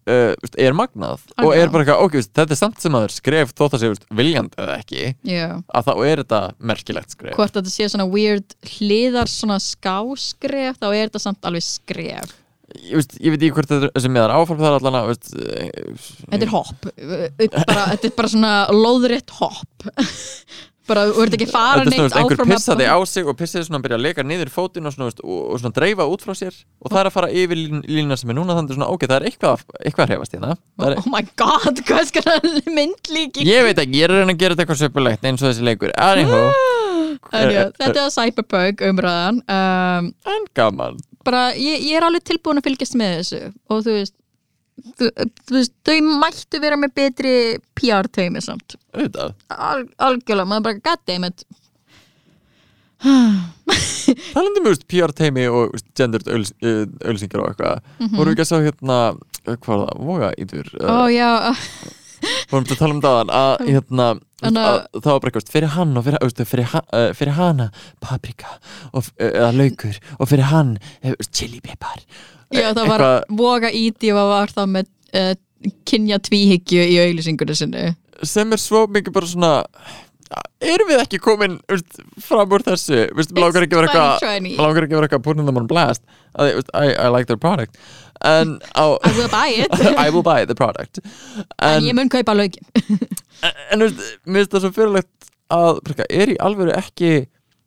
uh, veist, er magnað og
Algjörlega.
er bara eitthvað, ok, veist, þetta er samt sem aður skref þótt að sé veist, viljandi eða ekki
Já.
að þá er þetta merkilegt skref
hvort þetta sé svona weird hliðar svona skáskref þá er þetta samt alveg skref
ég, veist, ég veit ekki hvort þetta er- þessi miðar áfram það er allan að veist, eh,
þetta er hopp Upp bara, þetta er bara svona lóðrétt hopp [LAUGHS] bara, þú ert ekki að
þetta er
fara
svona,
neitt
veist, einhver
áfram
pissaði á sig og pissaði svona að byrja að leika niður fótinn og svona, veist, og, og svona dreifa út frá sér og það er að fara yfir lín- línuna sem er núna þannig svona, ok, það er eitthvað, eitthvað að hrefast hérna Það er,
oh my god, [LAUGHS] hvað skal það myndlíki
ég veit ekki, ég er að reyna að gera þetta eitthvað söpulegt eins og þessi leikur,
Mm.
anywho
En já, þetta er Cyberpunk umræðan um,
en gaman
bara, ég, ég er alveg tilbúin að fylgjast með þessu og þú veist þú, þú veist, þau mættu vera með betri PR teimi samt
auðvitað,
Al, algjörlega, maður bara goddammit
talandi um PR-teimi og veist, gendered öls, uh, ölsingar og eitthvað vorum við ekki að sjá hérna eh, hvað var það, voga ítur
Mhm.
eh,
ó já,
vorum við að tala um dagann að, hérna,
En,
að, að það var bara eitthvað fyrir hann og fyrir, veist, fyrir, ha- eh, fyrir hana paprika og, f- eh, eða laukur og fyrir hann eh, chili pepper
Já, það var voga íti og var það með eh, uh, kynja tvíhyggju í auðlýsingunni sinni.
sem er svo mikið bara svona erum við ekki komin veist, fram úr þessu veist, mig langar ekki að vera eitthvað
2020.
mig langar ekki að vera eitthvað putting them on blast að, ég, veist, I, I like their product en á
[LAUGHS] I will buy it
[LAUGHS] I will buy the product
en
en,
ég mun kaupa lögin
en, en veist, mér finnst það svo fyrirlegt að breka, er í alvöru ekki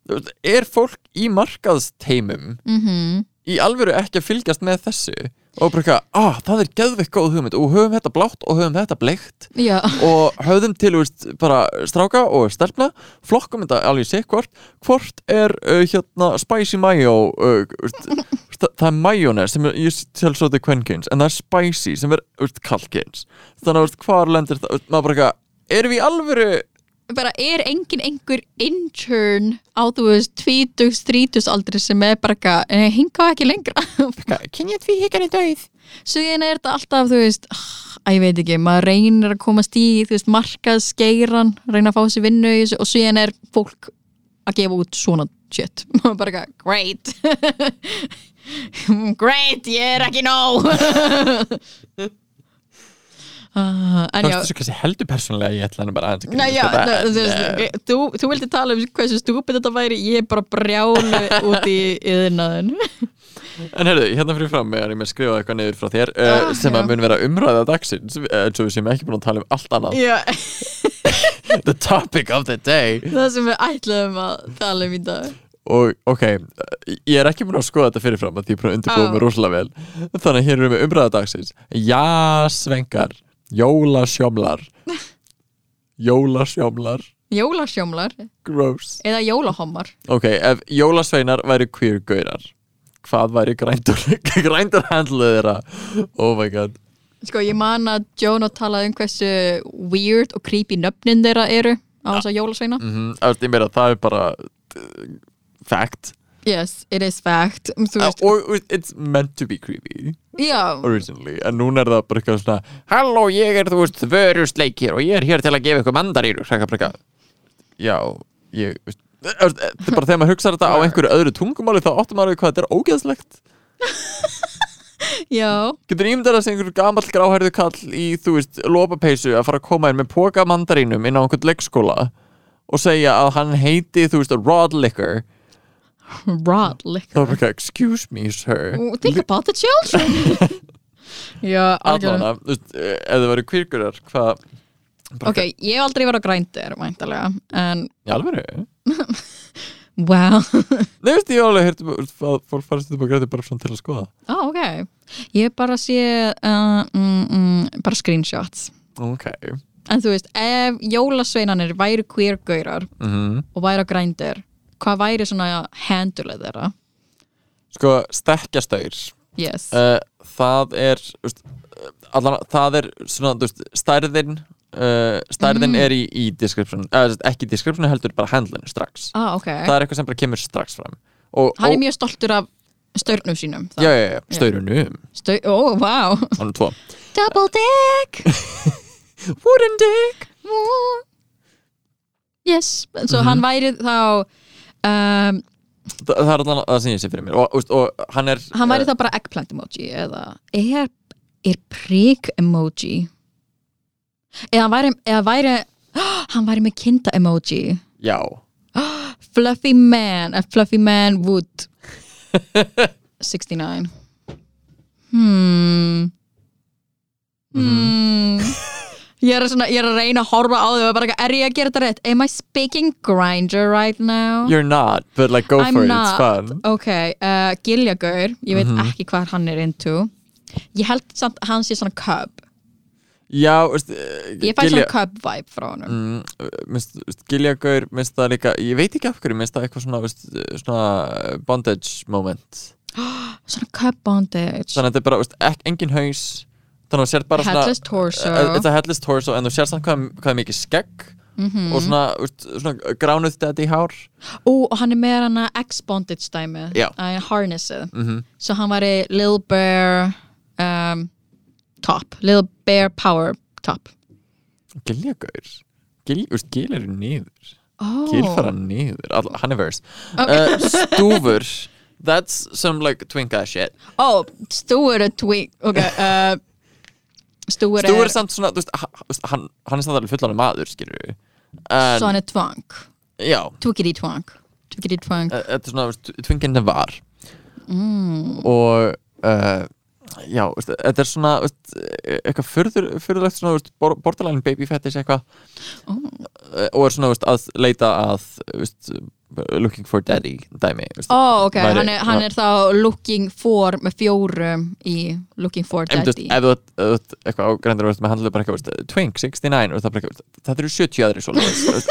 veist, er fólk í markaðsteimum
mm -hmm.
í alvöru ekki að fylgjast með þessu og bara eitthvað, ah, það er geðveikt góð hugmynd og höfum þetta blátt og höfum þetta bleikt
Já,
og höfðum til veist, bara stráka og stelpna flokkum þetta alveg sé hvort hvort er uh, hérna spicy mayo uh, veist, veist, það það er majónes sem er, ég tel svo þetta kvenkyns en það er spicy sem er veist, kallkyns þannig að veist, hvar lendir það veist, maður bara eitthvað, erum við í alvöru
bara er engin einhver intern á þú veist 20, 30 aldri sem er bara eitthvað, "Eh, hingað ekki lengra
kynja því híkarni döið
Síðan er þetta alltaf, þú veist, ah, að ég veit ekki, maður reynir að komast í, þú veist, markaðsgeiran, reyna að fá sér vinnu í þessu og síðan er fólk að gefa út svona shit. [LAUGHS] Maður bara eitthvað, great, [LAUGHS] great, ég er ekki nóg. [LAUGHS] uh, en já,
það er svo kannski heldur persónlega ég ætla henni bara aðeins að
Nei, já,
grínast þetta,
þú,
en, eh,
veist, eh, þú, þú vildi tala um hversu stúpid þetta væri, ég er bara brjálu út í yðnaðin.
En heyrðu, hérna fyrir fram meðan ég með skrifaði eitthvað niður frá þér uh,
Ah,
sem
já.
að mun vera umræða dagsins eh, eins og við séum ekki búin að tala um allt annað
Já, [LAUGHS]
The topic of the day
það sem við ætlaðum að tala um í dag.
Og ok, eh, ég er ekki búin að skoða þetta fyrirfram að því ég er búin að undirbúa
Ah.
mig rosalega vel Þannig að hér erum við umræða dagsins Jásvengar,
[LAUGHS]
jólasjómlar Jólasjómlar,
Jólasjómlar
gross
eða jólahommar
Ok, ef jólasveinar væri queer gaurar Hvað væri grændur, [LAUGHS] grændur handluð þeirra? Oh my god
Sko ég man að Jono talaði um hversu weird og creepy nöfnin þeirra eru á þess að jólasveina
mm -hmm. ég meira það er bara uh, fact
Yes, it is fact um, Þú
uh,
veist,
og uh, it's meant to be creepy
já,
Mm. originally, en núna er það bara eitthvað svona halló ég er þú veist vörusleikir og ég er hér til að gefa ykkur mandarínur eitthvað bara eitthvað já, ég veist Það er bara þegar maður hugsa þetta á einhverju öðru tungumáli þá áttum maður á því hvað þetta er ógeðslegt
já
Getur ímyndar að segja einhver gamall gráhærðu kall í, þú veist, lopapeysu að fara að koma inn með póka af mandarínum inn á einhvern leikskóla og segja að hann heiti, þú veist, Rod Licker
Rod liquor
Það var ekki, excuse me sir
Ooh, Think about the children Já, algjörlega.
Allána, þú veist, eh, ef þið væri kvirkurar Hvað,
Ok, ég hef aldrei verið á grændir væntalega, en
í alveg Nei,
[LAUGHS] wow
þú veist, ég hef alveg heyrt um, þú veist, að Fólk farið stundum að græti bara svona til að skoða
Ó, oh, ok Ég bara sé uh, mm, mm, bara screenshots
Ok
En þú veist, ef jólasveinanir væri queer gaurar
mm
og væri á grændir hvað væri svona handlið þeirra
Sko, stekkjastaur
yes.
uh, Það er þú veist, eh, allan, Það er svona, þú veist, stærðin uh,
Mhm.
Stærðin er í, í description eða, þú veist, Ekki í description, heldur bara handlinu strax
ah, ok,
Það er eitthvað sem bara kemur strax fram og,
hann er
og-
mjög stoltur af störnum sínum
Já, já, já, staurunum
Stau, ó, vá
[LAUGHS] Hann er tvo
double dick
Wooden dick
Mm. yes,
Mhm.
svo hann væri þá um,
Þa, það er allan það sem ég sé fyrir mér og, og, og hann er eh,
hann væri þá bara eggplant emoji eða er, er prik emoji eða hann væri, eða væri [GASPS] hann væri með kinda emoji
já
fluffy man a fluffy man
[LAUGHS]
would 69 hmm hmm
Mm-hmm.
ég er, svona, ég er að reyna að horfa á þau og bara eitthvað, er ég að gera þetta rétt am I speaking grinder right now
you're not but like go
I'm
for it
not.
it's fun Mm-hmm.
ok, uh, Giljagaur ég veit ekki hvað hann er into ég held samt að hann sé svona cub
já veist, eh,
ég fæ svona cub vibe frá honum
Mm. svona Giljagaur minnst það líka ég veit ekki af hverju minnst það eitthvað svona, veist, svona bondage moment
svona cub bondage
þannig að þetta er bara veist, ek, engin haus þannig að þú sér bara
headless
svona
torso
Eh, It's a headless torso en þú sér samt hvað, hvað er mikið skegg
Mhm.
og svona, veist, svona gránuð þetta í hár
Ú, og hann er með hana X-bondage dæmi
Já. Mhm.
Æ, harnessið svo hann var í Lil Bear um, top, Lil Bear power top
Giljagaur Gil, veist, Gil eru niður
oh.
Kilfara niður, all, hann er vers uh, Stúfur That's some like twink ass shit
oh, Stuart er twink okay, uh, Stuart,
Stúfur er
er
samt svona, þú veist, ha- ha- þú veist, hann, hann er samt alveg fullan maður, skilur við en,
Svona tvang
já,
Tukiri tvang Tukiri tvang
e- þetta er svona veist, tvingindi var mm. og uh, já, veist, þetta er svona veist, e- eitthvað furður, furðurlegt svona veist, bor- borderline baby fetish eitthvað Eh, og er svona veist, að leita að veist, looking for daddy dæmi veist,
Ó, Oh, ok,
Væri-
hann er, hann er þá looking for með fjórum í looking for
En þú veist,
daddy
ef þú ert- ef þú ert eitthvað á grændur með handlu bara eitthvað, veist, Twink 69 veist, það, bara, eitthvað, veist, það eru 70 aðri svo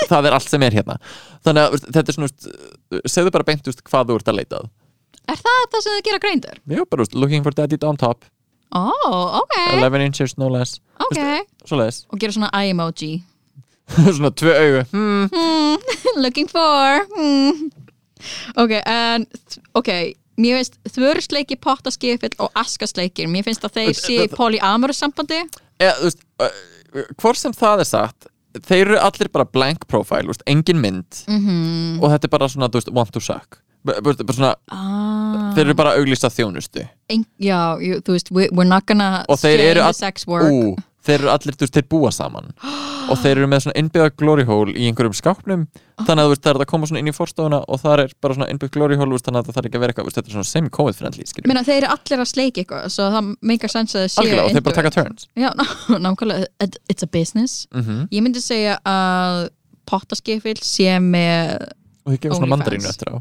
það er allt sem er hérna þannig að veist, þetta er svona, veist, segðu bara beint veist, hvað þú ert að leita að
Er það það sem þau gera greindur?
Jú, bara veist, looking for daddy on top
Ó, ok,
11 inches no less
ok
svo leiðis, [LAUGHS]
Og gera svona eye emoji
svona tvö augu hmm.
Mm, [LAUGHS] Looking for hmm. Ok, en Ok, mér finnst þvörsleiki, pottaskifill og askasleikir Mér finnst að þeir sé í polyamorous sambandi
Eða, þú veist, uh, hvort sem það er sagt þeir eru allir bara blank profile þú veist, engin mynd
Mhm.
-hmm. og þetta er bara svona, þú veist, want to suck B- þú veist, bara svona,
ah,
þeir eru bara að auglýsa þjónustu
en, Já, jú, þú veist, we, we're not gonna
og þeir
shame
eru,
the
all-
sex work
Ú, þeir eru allir, þú veist, þeir búa [GASPS] saman og þeir eru með svona innbyggða glory hole í einhverjum skápnum þannig að þú veist, það er hægt að koma svona inn í forstofuna og það er bara svona innbyggð glory hole þú veist, þannig að það þarf ekki að vera eitthvað, þú veist, þetta er svona semi-covid friendly skilur
Meina, þeir eru allir að sleiki eitthvað Svo það meikar sens að þeir séu
algjörlega og þeir bara
into
taka
it.
turns
Já, [LAUGHS] ná- nákvæmlega, It- it's a business
Mhm.
Ég myndi segja að pottaskifill sé með
og þeir gefa svona
Onlyfans.
mandarínu eftir á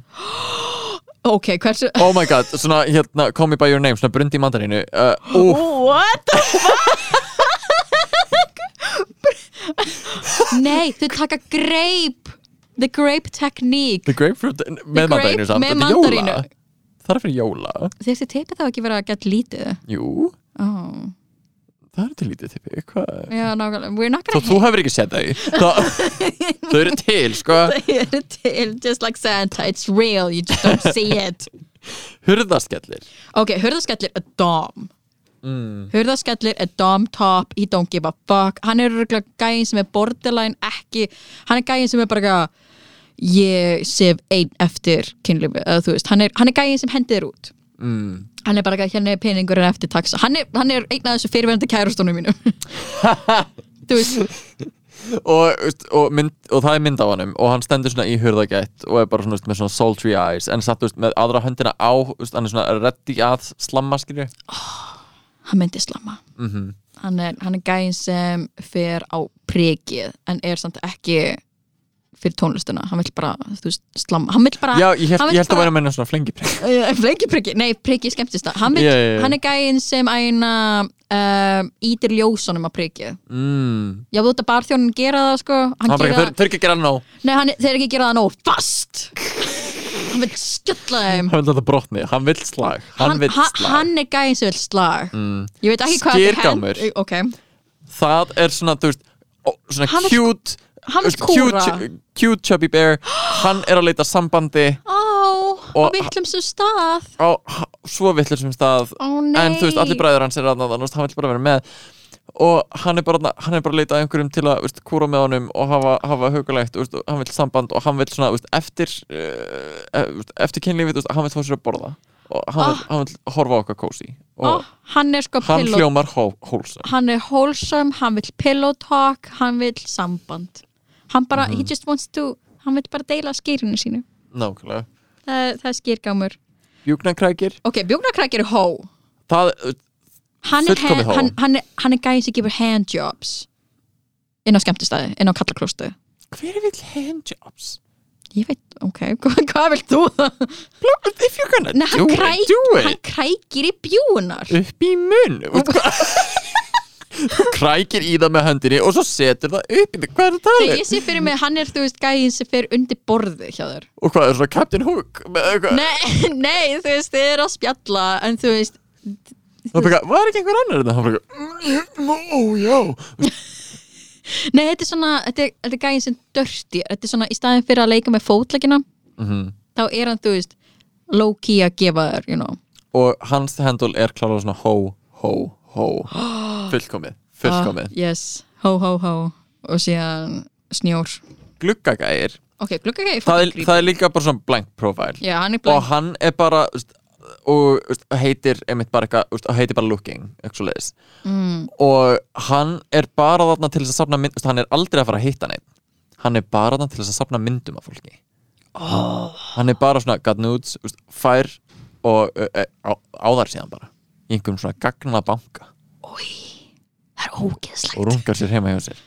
Ok, hversu
oh my god, svona hérna call me by your name, svona brundi í mandarinu uh, úf,
What the
[LAUGHS]
fuck Nei, þau taka grape The grape technique
the grapefruit með
grape
mandarinu samt,
með
þetta er jóla
mandarínu.
það er fyrir jóla,
Þessi teipi þá ekki verið að geta lítið
jú
oh.
það er til lítið tippi, hvað
Já, nákvæmlega, we're not
Þó
gonna
þú hefur ekki séð þau Þá-
[LAUGHS]
Þau eru til, sko
hate it until Just like Santa, it's real, you just don't see it
Hurðaskellir
Ok, hurðaskellir er dom mm. Hurðaskellir er dom top He don't give a fuck Hann er röglega gæin sem er borderline ekki Hann er gæin sem er bara eitthvað Ég sef einn eftir kynlífi eða þú veist, hann er, hann er gæin sem hendi þér út
mm.
Hann er bara eitthvað hérna er peningurinn eftir taxa Hann er, hann er einn af þessu fyrirverandi kærustónum mínum Þú veist,
og, veist, og, mynd, og það er mynd á hannum og hann stendur svona í hurðagætt og er bara svona veist, með svona sultry eyes en satt veist, með aðra höndina á veist, hann er svona reddi að slamma skilju
hann myndi slamma
Mhm.
-hmm. hann, er, hann er gæin sem fer á prikið en er samt ekki fyrir tónlistuna, hann vill bara þú veist, slamma, hann vill bara
Já, ég held,
Ah, hann
ég
vill
held að vera meina svona flengiprik
Eh, flengi priggi, nei priggi skemmtist það hann, vill-
Já, já, já.
hann er gæinn sem æna um, ítir ljósunum að priggi
mm.
já þú veit að barþjónin gera það sko hann
Hann bara,
gera,
þau þau eru ekki að gera nóg
nei, hann, þeir eru ekki að gera það nóg fast hann vil skella þeim
Hann vil þetta brotni, hann vil slag Hann,
hann,
vill
hann,
slag Mm.
hann er gæinn sem vil slag ég veit ekki hvað þetta
Skyrgámur.
hen- ok,
Það er svona, þú veist ó, Svona
Hann vill-
cute
hann vill
veist, cute,
kúra.
ch- cute chubby bear Hann er að leita sambandi
á
Og-
og vittlum svo stað
á h- svo vittlur sem stað
Ó, nei.
en þú veist, allir bræður hans er að hann vill bara vera með og hann er bara, þarna- hann er bara að leita að einhverjum til að veist, kúra með honum og hafa, hafa hugulegt veist, og hann vill samband og hann vill svona veist, eftir uh, veist, eftir kynlífið, veist, hann vill fá sér að borða og hann,
Ah.
vill, hann vill horfa á okkar kósi og
Ó, hann er sko
hann
pillow
hljómar hó, hólsum
hann er wholesome, hann vill pillow talk hann vill samband hann bara,
Mhm.
he just wants to hann vill bara deila skýrinu sínu
nákvæmlega,
það, er- það er skýrgámur
bjúknakrækir
ok, bjóknarkræk er hó
það,
hann er,
Fullkomið
hand,
hó.
hann, hann er, hann er gæði sem gefur handjobs inn á skemmtistæði, inn á kallaklóstu
hver vill handjobs?
ég veit, ok, [LAUGHS] hvað, hvað vilt þú
if you're gonna
Nei,
do
hann, kræk,
it, do it
hann krækir í bjúnar
upp í munn krækir í það með höndinni og svo setur það upp í það hvað er það
Nei,
talið?
ég sé fyrir mig, hann er þú veist gæðin sem fer undir borði hjá þér
og hvað er svona Captain Hook með eitthvað
nei, [LAUGHS] nei, þú veist, þið eru að spjalla en þú veist,
Hann bara, var ekki einhver annar en það bara, "Mm, ó já
Nei, þetta er svona, þetta er, þetta er gæðin sem dörti Þetta er svona, í staðin fyrir að leika með fótleggina
Mhm.
þá er hann, þú veist low-key að gefa þér, you know
og hans hendul er klálega svona hó, hó, hó
[GASPS]
fullkomið,
Ah,
fullkomið
Yes, ho, ho, ho og síðan snjór
gluggagæir,
Ok, glugga ekki
það er, það er líka bara svona blank profile
Já, hann
og
er blank
hann er bara veist, og veist, heitir einmitt bara eitthvað veist, heitir bara looking eitthvað leis
mm,
og hann er bara þarna til þess að safna mynd, veist, hann er aldrei að fara að hitta neitt hann er bara þann til þess að sapna myndum af fólki oh. hann er bara svona gat nudes, úst, fær og uh, uh, á, á þar síðan bara í einhverjum svona gagna banka
það er ógeðslegt
og rungar sér heima hjá sér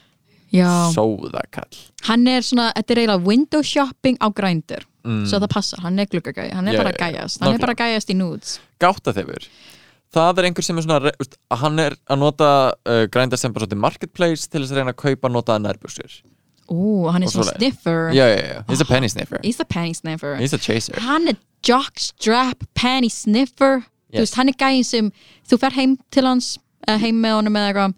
Já,
sóða kall
hann er svona, þetta er eiginlega window shopping á grændur
Mm.
svo það passar, hann er gluggagæi, hann er
Já,
bara
já, já,
gæjast hann er
nákvæmlega.
bara gæjast í nudes
gáta þeifur það er einhver sem er svona re- úst, hann er að nota uh, grænda sem bara svona marketplace til þess að reyna að kaupa notaða nærbjörnsir
Ú, hann er
Og
svona
svoleiðis.
sniffer
já, já, já, he's a penny sniffer
he's a penny sniffer
he's a chaser
hann er jockstrap penny sniffer
Yes.
þú veist, hann er gæin sem þú fer heim til hans eða heim með honum eða eitthvað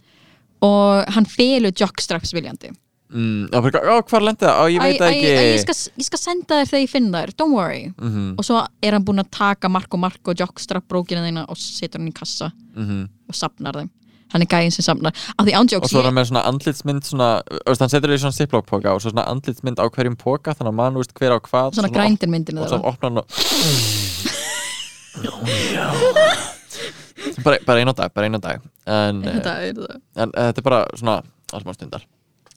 og hann felur jockstraps viljandi
mm, á, á, hvar lendi það, á, ég veit
Æ,
það
æ,
ekki
æ, ég, skal, ég skal senda þér þegar ég finn þær, don't worry
Mhm.
-hmm. og svo er hann búinn að taka Marko Marko jockstrap brókina þína og setur hann í kassa -hmm. og sapnar þeim hann er gæin sem sapnar, af því
Mhm. og
ándjóks
svo er
ég,
hann með svona andlitsmynd svona, öst, hann setur þau í svona ziplock poka og svo svona andlitsmynd á hverjum poka þannig að mann veist hver á hvað
svona grændinmyndinu
og svo
þeirra
opnar hann og bara, bara einu dag, bara einu dag en,
Þetta
eh,
er það.
en eh, þetta er bara svona allmá stundar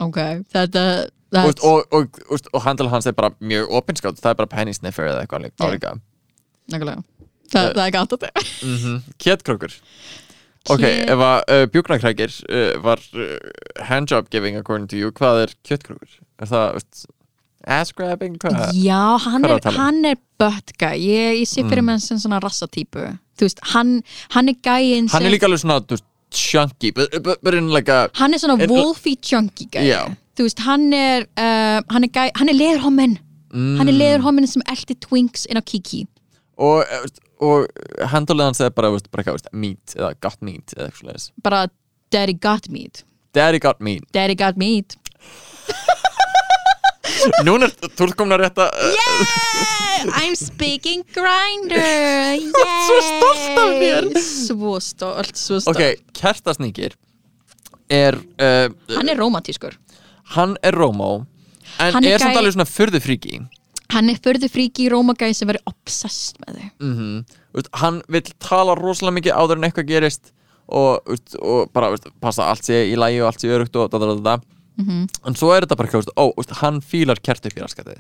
ok, þetta
og,
that's-
og, og, og, og handla hans er bara mjög opinskátt, það er bara penny sniffer eða eitthvað líka,
Já.
álíka
nákvæmlega. Þa,
Eh,
það er gata þetta
mm Kétkrókur Ok,
Kjöt-
ef að uh, bjúknakrækir uh, var uh, handjob giving according to you, hvað er kjötkrókur? Er það, veist, ass grabbing? Hvað?
Já, hann
hvað er
er,
að tala um?
hann er bötka ég, ég sé fyrir mm. mér sem svona rassatýpu Þú veist, hann, hann er
Hann
gæinn sem-
er líka alveg svona, þú veist, chunky but, but, but in like a,
hann er svona
er-
wolfy junkie gæi
Já.
Þú veist, hann er uh, hann er, gæ, hann er leðurhommin hann
Mm.
er leðurhommin sem eldi twinks inn á Kiki
og, eh, veist, og handlið hans er bara, veist, bara hvað, veist, meat eða got meat eða eitthvað leðis
bara daddy got meat
Daddy got meat
daddy got meat
Núna er túlkomna rétt að yeah!
Eh, I'm speaking grinder
[LAUGHS] Svo stolt af þér.
Svo stolt, svo stolt
Ok, kertasnýkir er uh,
Hann er rómatískur
hann er Rómó en
Hann er
er samt
gæi-
alveg svona furðu fríki
Hann er förðu fríki í rómagæði sem verið obsessed með þau
Mm, hann vill tala rosalega mikið áður en eitthvað gerist og, veist, og bara veist, passa allt sé í lægi og allt sé örugt og da, da, da, da.
Mhm.
en svo er þetta bara veist, ó, veist, hann fílar kert upp í raskatið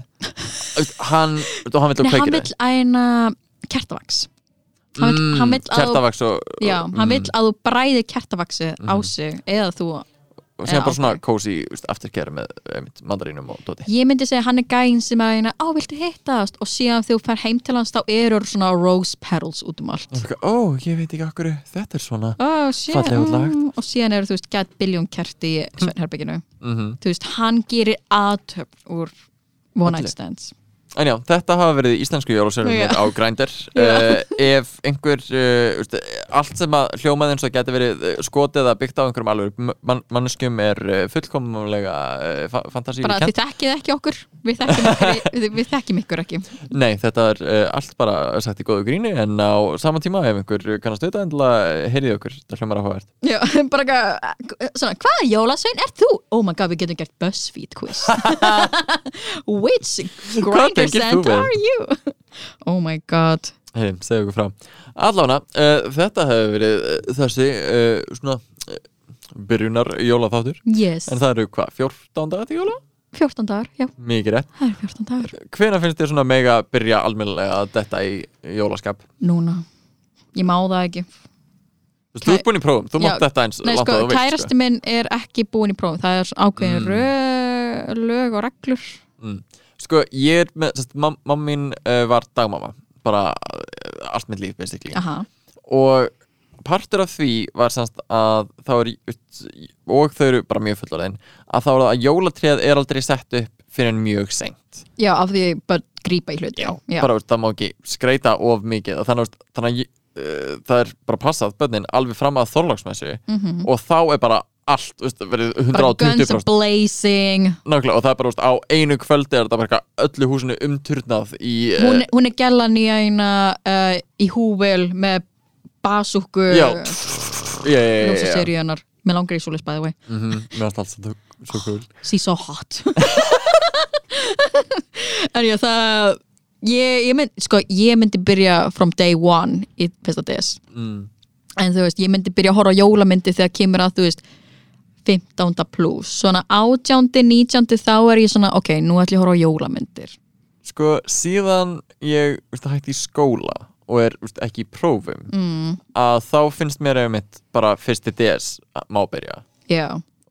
Veist, hann, veist, og hann vill
Nei,
að kveikir Mm,
hann vill æna kertavaks Hann vill, hann vill að þú
kertavaks og,
Já, hann
Mm.
vill að þú bræðir kertavaksi á sig eða þú,
og sem
Já,
bara svona
ok.
kósi afturkjæri með einmitt, mandarínum og dóti
ég myndi segja hann er gæinn sem er eina, á viltu hittast og síðan þú fer heim til hans þá eru svona rose petals út um allt
Og ó, ég veit ekki okkur þetta er svona
oh, shit,
Fallega útlagt.
mm, og síðan eru þú veist gett biljón kerti í sveinherbygginu
mm
þú veist, hann gerir aðtöfn úr one
Falleg.
night stands
En já, þetta hafa verið íslensku jólasöfnum
Já.
á Grindr
[LAUGHS] Já.
uh, Ef einhver, uh, úst, allt sem að hljómaði eins og geti verið eh, skotið eða byggt á einhverjum alveg man manneskjum er uh, fullkomlega uh, fantasíu
bara þið
kent
þekkið ekki okkur við þekkjum ykkur, við,
[LAUGHS]
við þekkjum ykkur ekki
Nei, þetta er uh, allt bara sagt í góðu gríni en á sama tíma ef einhver kannast við þetta endilega heyriði okkur, þetta hljómar áhugavert
Já, [LAUGHS] bara eitthvað, svona, hvaða jólasvein er þú? Oh my god, við getum gert BuzzFeed quiz.
[LAUGHS]
Which grinder
tengir þú
scent
við?
are you? Oh my god.
Heyri, segðu okkur frá Allána, uh, þetta hefur verið uh, þessi uh, svona uh, byrjunar jólaþáttur
Yes,
En það eru hvað, 14 dagar til jóla?
14 dagar, já,
Mikið rétt
það er 14 dagar.
hvena finnst þér svona mega að byrja almennilega að detta í jólaskap?
Núna, ég má það ekki.
Þú veist, þú ert búin í prófum, þú
Já,
mátt detta eins
Nei,
langt
sko,
að Mm. þú vilt,
kærasti minn er ekki búin í prófum, það er svona ákveðin rö- lög og reglur.
sko. sko, ég er með, sérst, mam, mamma mín uh, var dagmamma bara uh, allt mitt líf, basically
Aha,
og partur af því var semst að þá er og þau eru bara mjög fullorðin að þá er það að jólatréð er aldrei sett upp fyrir en mjög seint
já, af því ég bara grípa í hluti. já.
bara veist, það má ekki skreita of mikið og þannig, veist, þannig að ég- eh, það er bara passað bönnin alveg fram að þorlagsmessu
Mhm.
og þá er bara allt veist, verið
bara guns
120%
blazing.
Nákvæmlega, og það er bara, veist, á einu kvöldi er þetta bara eitthvað öllu húsinu umturnað í
hún,
eh,
hún er gellan í eina uh, í húvel með basúku
Já, já, já, já, já, já.
ljósaseríu hennar með langar í solis by the way
Mm Mér varst alls þetta svo cool
she's
[LAUGHS]
so hot en já það ég, ég, mynd, sko, ég myndi byrja from day one í fyrsta DS
mm.
en þú veist ég myndi byrja að horfa á jólamyndi þegar kemur að þú veist 15. plus svona 18. 19. þá er ég svona ok, nú ætlum ég að horfa á jólamyndir
sko síðan ég veist, hætti í skóla og er veist, ekki í prófum
mm,
að þá finnst mér einmitt bara fyrsti DS má byrja
já,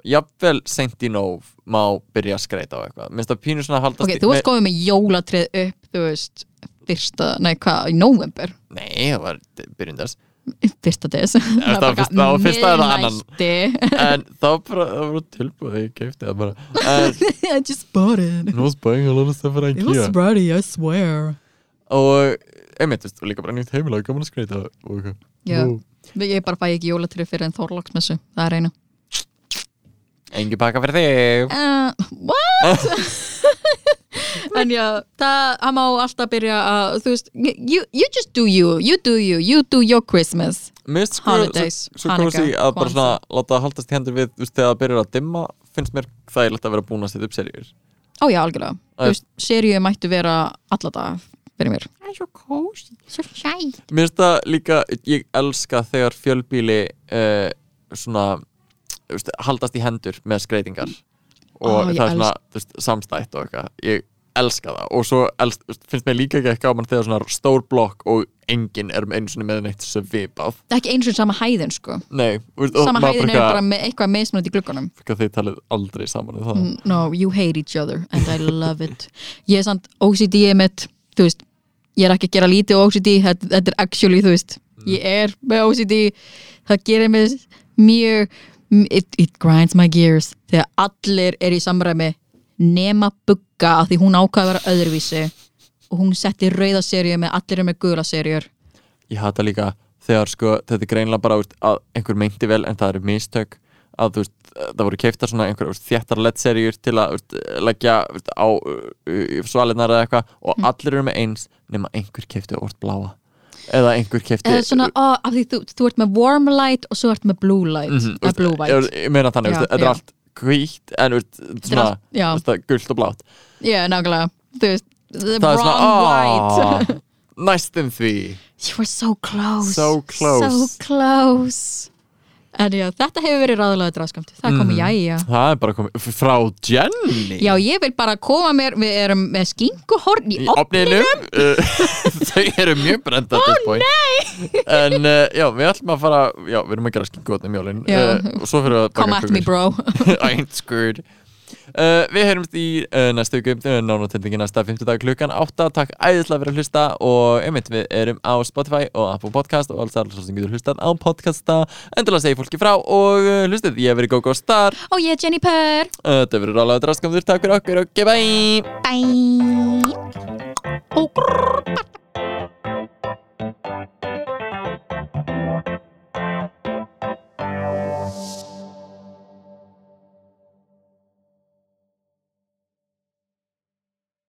jafnvel seint í nóf má byrja að skreita á eitthvað minnst að pínu svona að haldast
ok,
í-
þú varst sko- komið með jólatrið upp, þú veist fyrsta, nei hvað, í november
nei, það var byrjun þess
fyrsta des
það
Það
var
bara
fyrsta- það var fyrsta eða annan?
miðnætti. [LAUGHS]
en þá bara, það var tilbúið ég keipti það bara
[LAUGHS]
en
I just bought it
nú spæðing að lóna stefn að
it was ready, I swear
og einmitt, veist, og líka bara nýtt heimilag gaman að skreita og eitthvað
Já.
Nú.
ég bara fæ ekki jólatrið fyrir en þorlóksmessu það er eina
Engi pakka fyrir þig
uh,
[LAUGHS]
what? [LAUGHS] en já, það hann má alltaf byrja að þú veist, you, you just do you you do you, you do your Christmas
Mist sko,
Holidays,
svo, svo
Hanukkah,
kósi að bara
Kwanzaa.
svona láta það haldast í hendur við, þú veist, þegar það byrjar að dimma finnst mér þægilegt að vera búin að setja upp serjur
ó já, algjörlega,
Æ.
þú veist, seríu mættu vera alla dag fyrir mér
Það er svo kósi, svo sætt.
Mér finnst það líka, ég elska þegar fjölbíli uh, svona þú veist, haldast í hendur með skreitingar og
Ó, ég
það er svona þú veist, samstætt og eitthvað, ég elska það og svo elst, þú veist, finnst mér líka ekki ekki gaman þegar svona stór blokk og enginn er einu sinni með neitt sem vipað
það er ekki eins og sama hæðin sko
Nei, þú veist, og
sama
maður
hæðin er
bara
bara Mhm. með eitthvað meðsmunandi í gluggunum
eitthvað, þeir talið aldrei saman um það
no, you hate each other and I love
[LAUGHS]
it ég er samt OCD er mitt þú veist, ég er ekki að gera lítið á OCD þetta, þetta er actually, þú veist
Mm.
ég er með OCD það gerir mig mjög it, it grinds my gears þegar allir er í samræmi nema bugga af því hún ákvað að vera öðruvísi og hún setti rauða seríu með allir er með gula seríur
ég hata líka þegar sko þetta er greinlega bara úst, að einhver meinti vel en það eru mistök að þú veist, það voru keiftar svona einhver úst, þjættar lettserjur til að úst, leggja úst, á svalinnar eða eitthvað og
Mhm.
allir eru með eins nema einhver keifti orð bláa eða einhver keifti
eða svona, ó, af því þú, þú ert með warm light og svo ert með blue light
mhm,
mm blue white
ég, ég meina þannig,
Já,
úst, þetta
já.
er allt hvítt en úst,
er
svona
allt- já.
úst, gult og blátt
Já, nákvæmlega Þú veist, the
það er
wrong
svona,
white [LAUGHS]
"Ah, næstum því
You were so close
So close.
So close En já, þetta hefur verið ráðulega dráskamt Það
Mhm.
komið, jæja
það er bara komið frá Jenny
Já, ég vil bara koma mér Við erum með skinkuhorn í
í
opn
opninum [LAUGHS] þau eru mjög brenda
Ó,
nei en uh, já, við ætlum að fara já, við erum að gera skinkuotnum jólin
Já.
uh, og svo fyrir við að
Come at me, bro
[LAUGHS]
[LAUGHS]
I ain't screwed uh, við heyrumst í uh, næstu viku uh, nánatendingi næsta 50 dag klukkan 8 takk æðislega fyrir að hlusta og einmitt við erum á Spotify og Apple Podcast og alls alls sem getur hlustað á podcasta endilega segi fólki frá og uh, hlustið ég hef verið GóGó Star uh,
Og ég er Jenny Purr
þetta verður alveg að draskamður takk fyrir okkur og okay, bye
Bæ.
Ó, grrr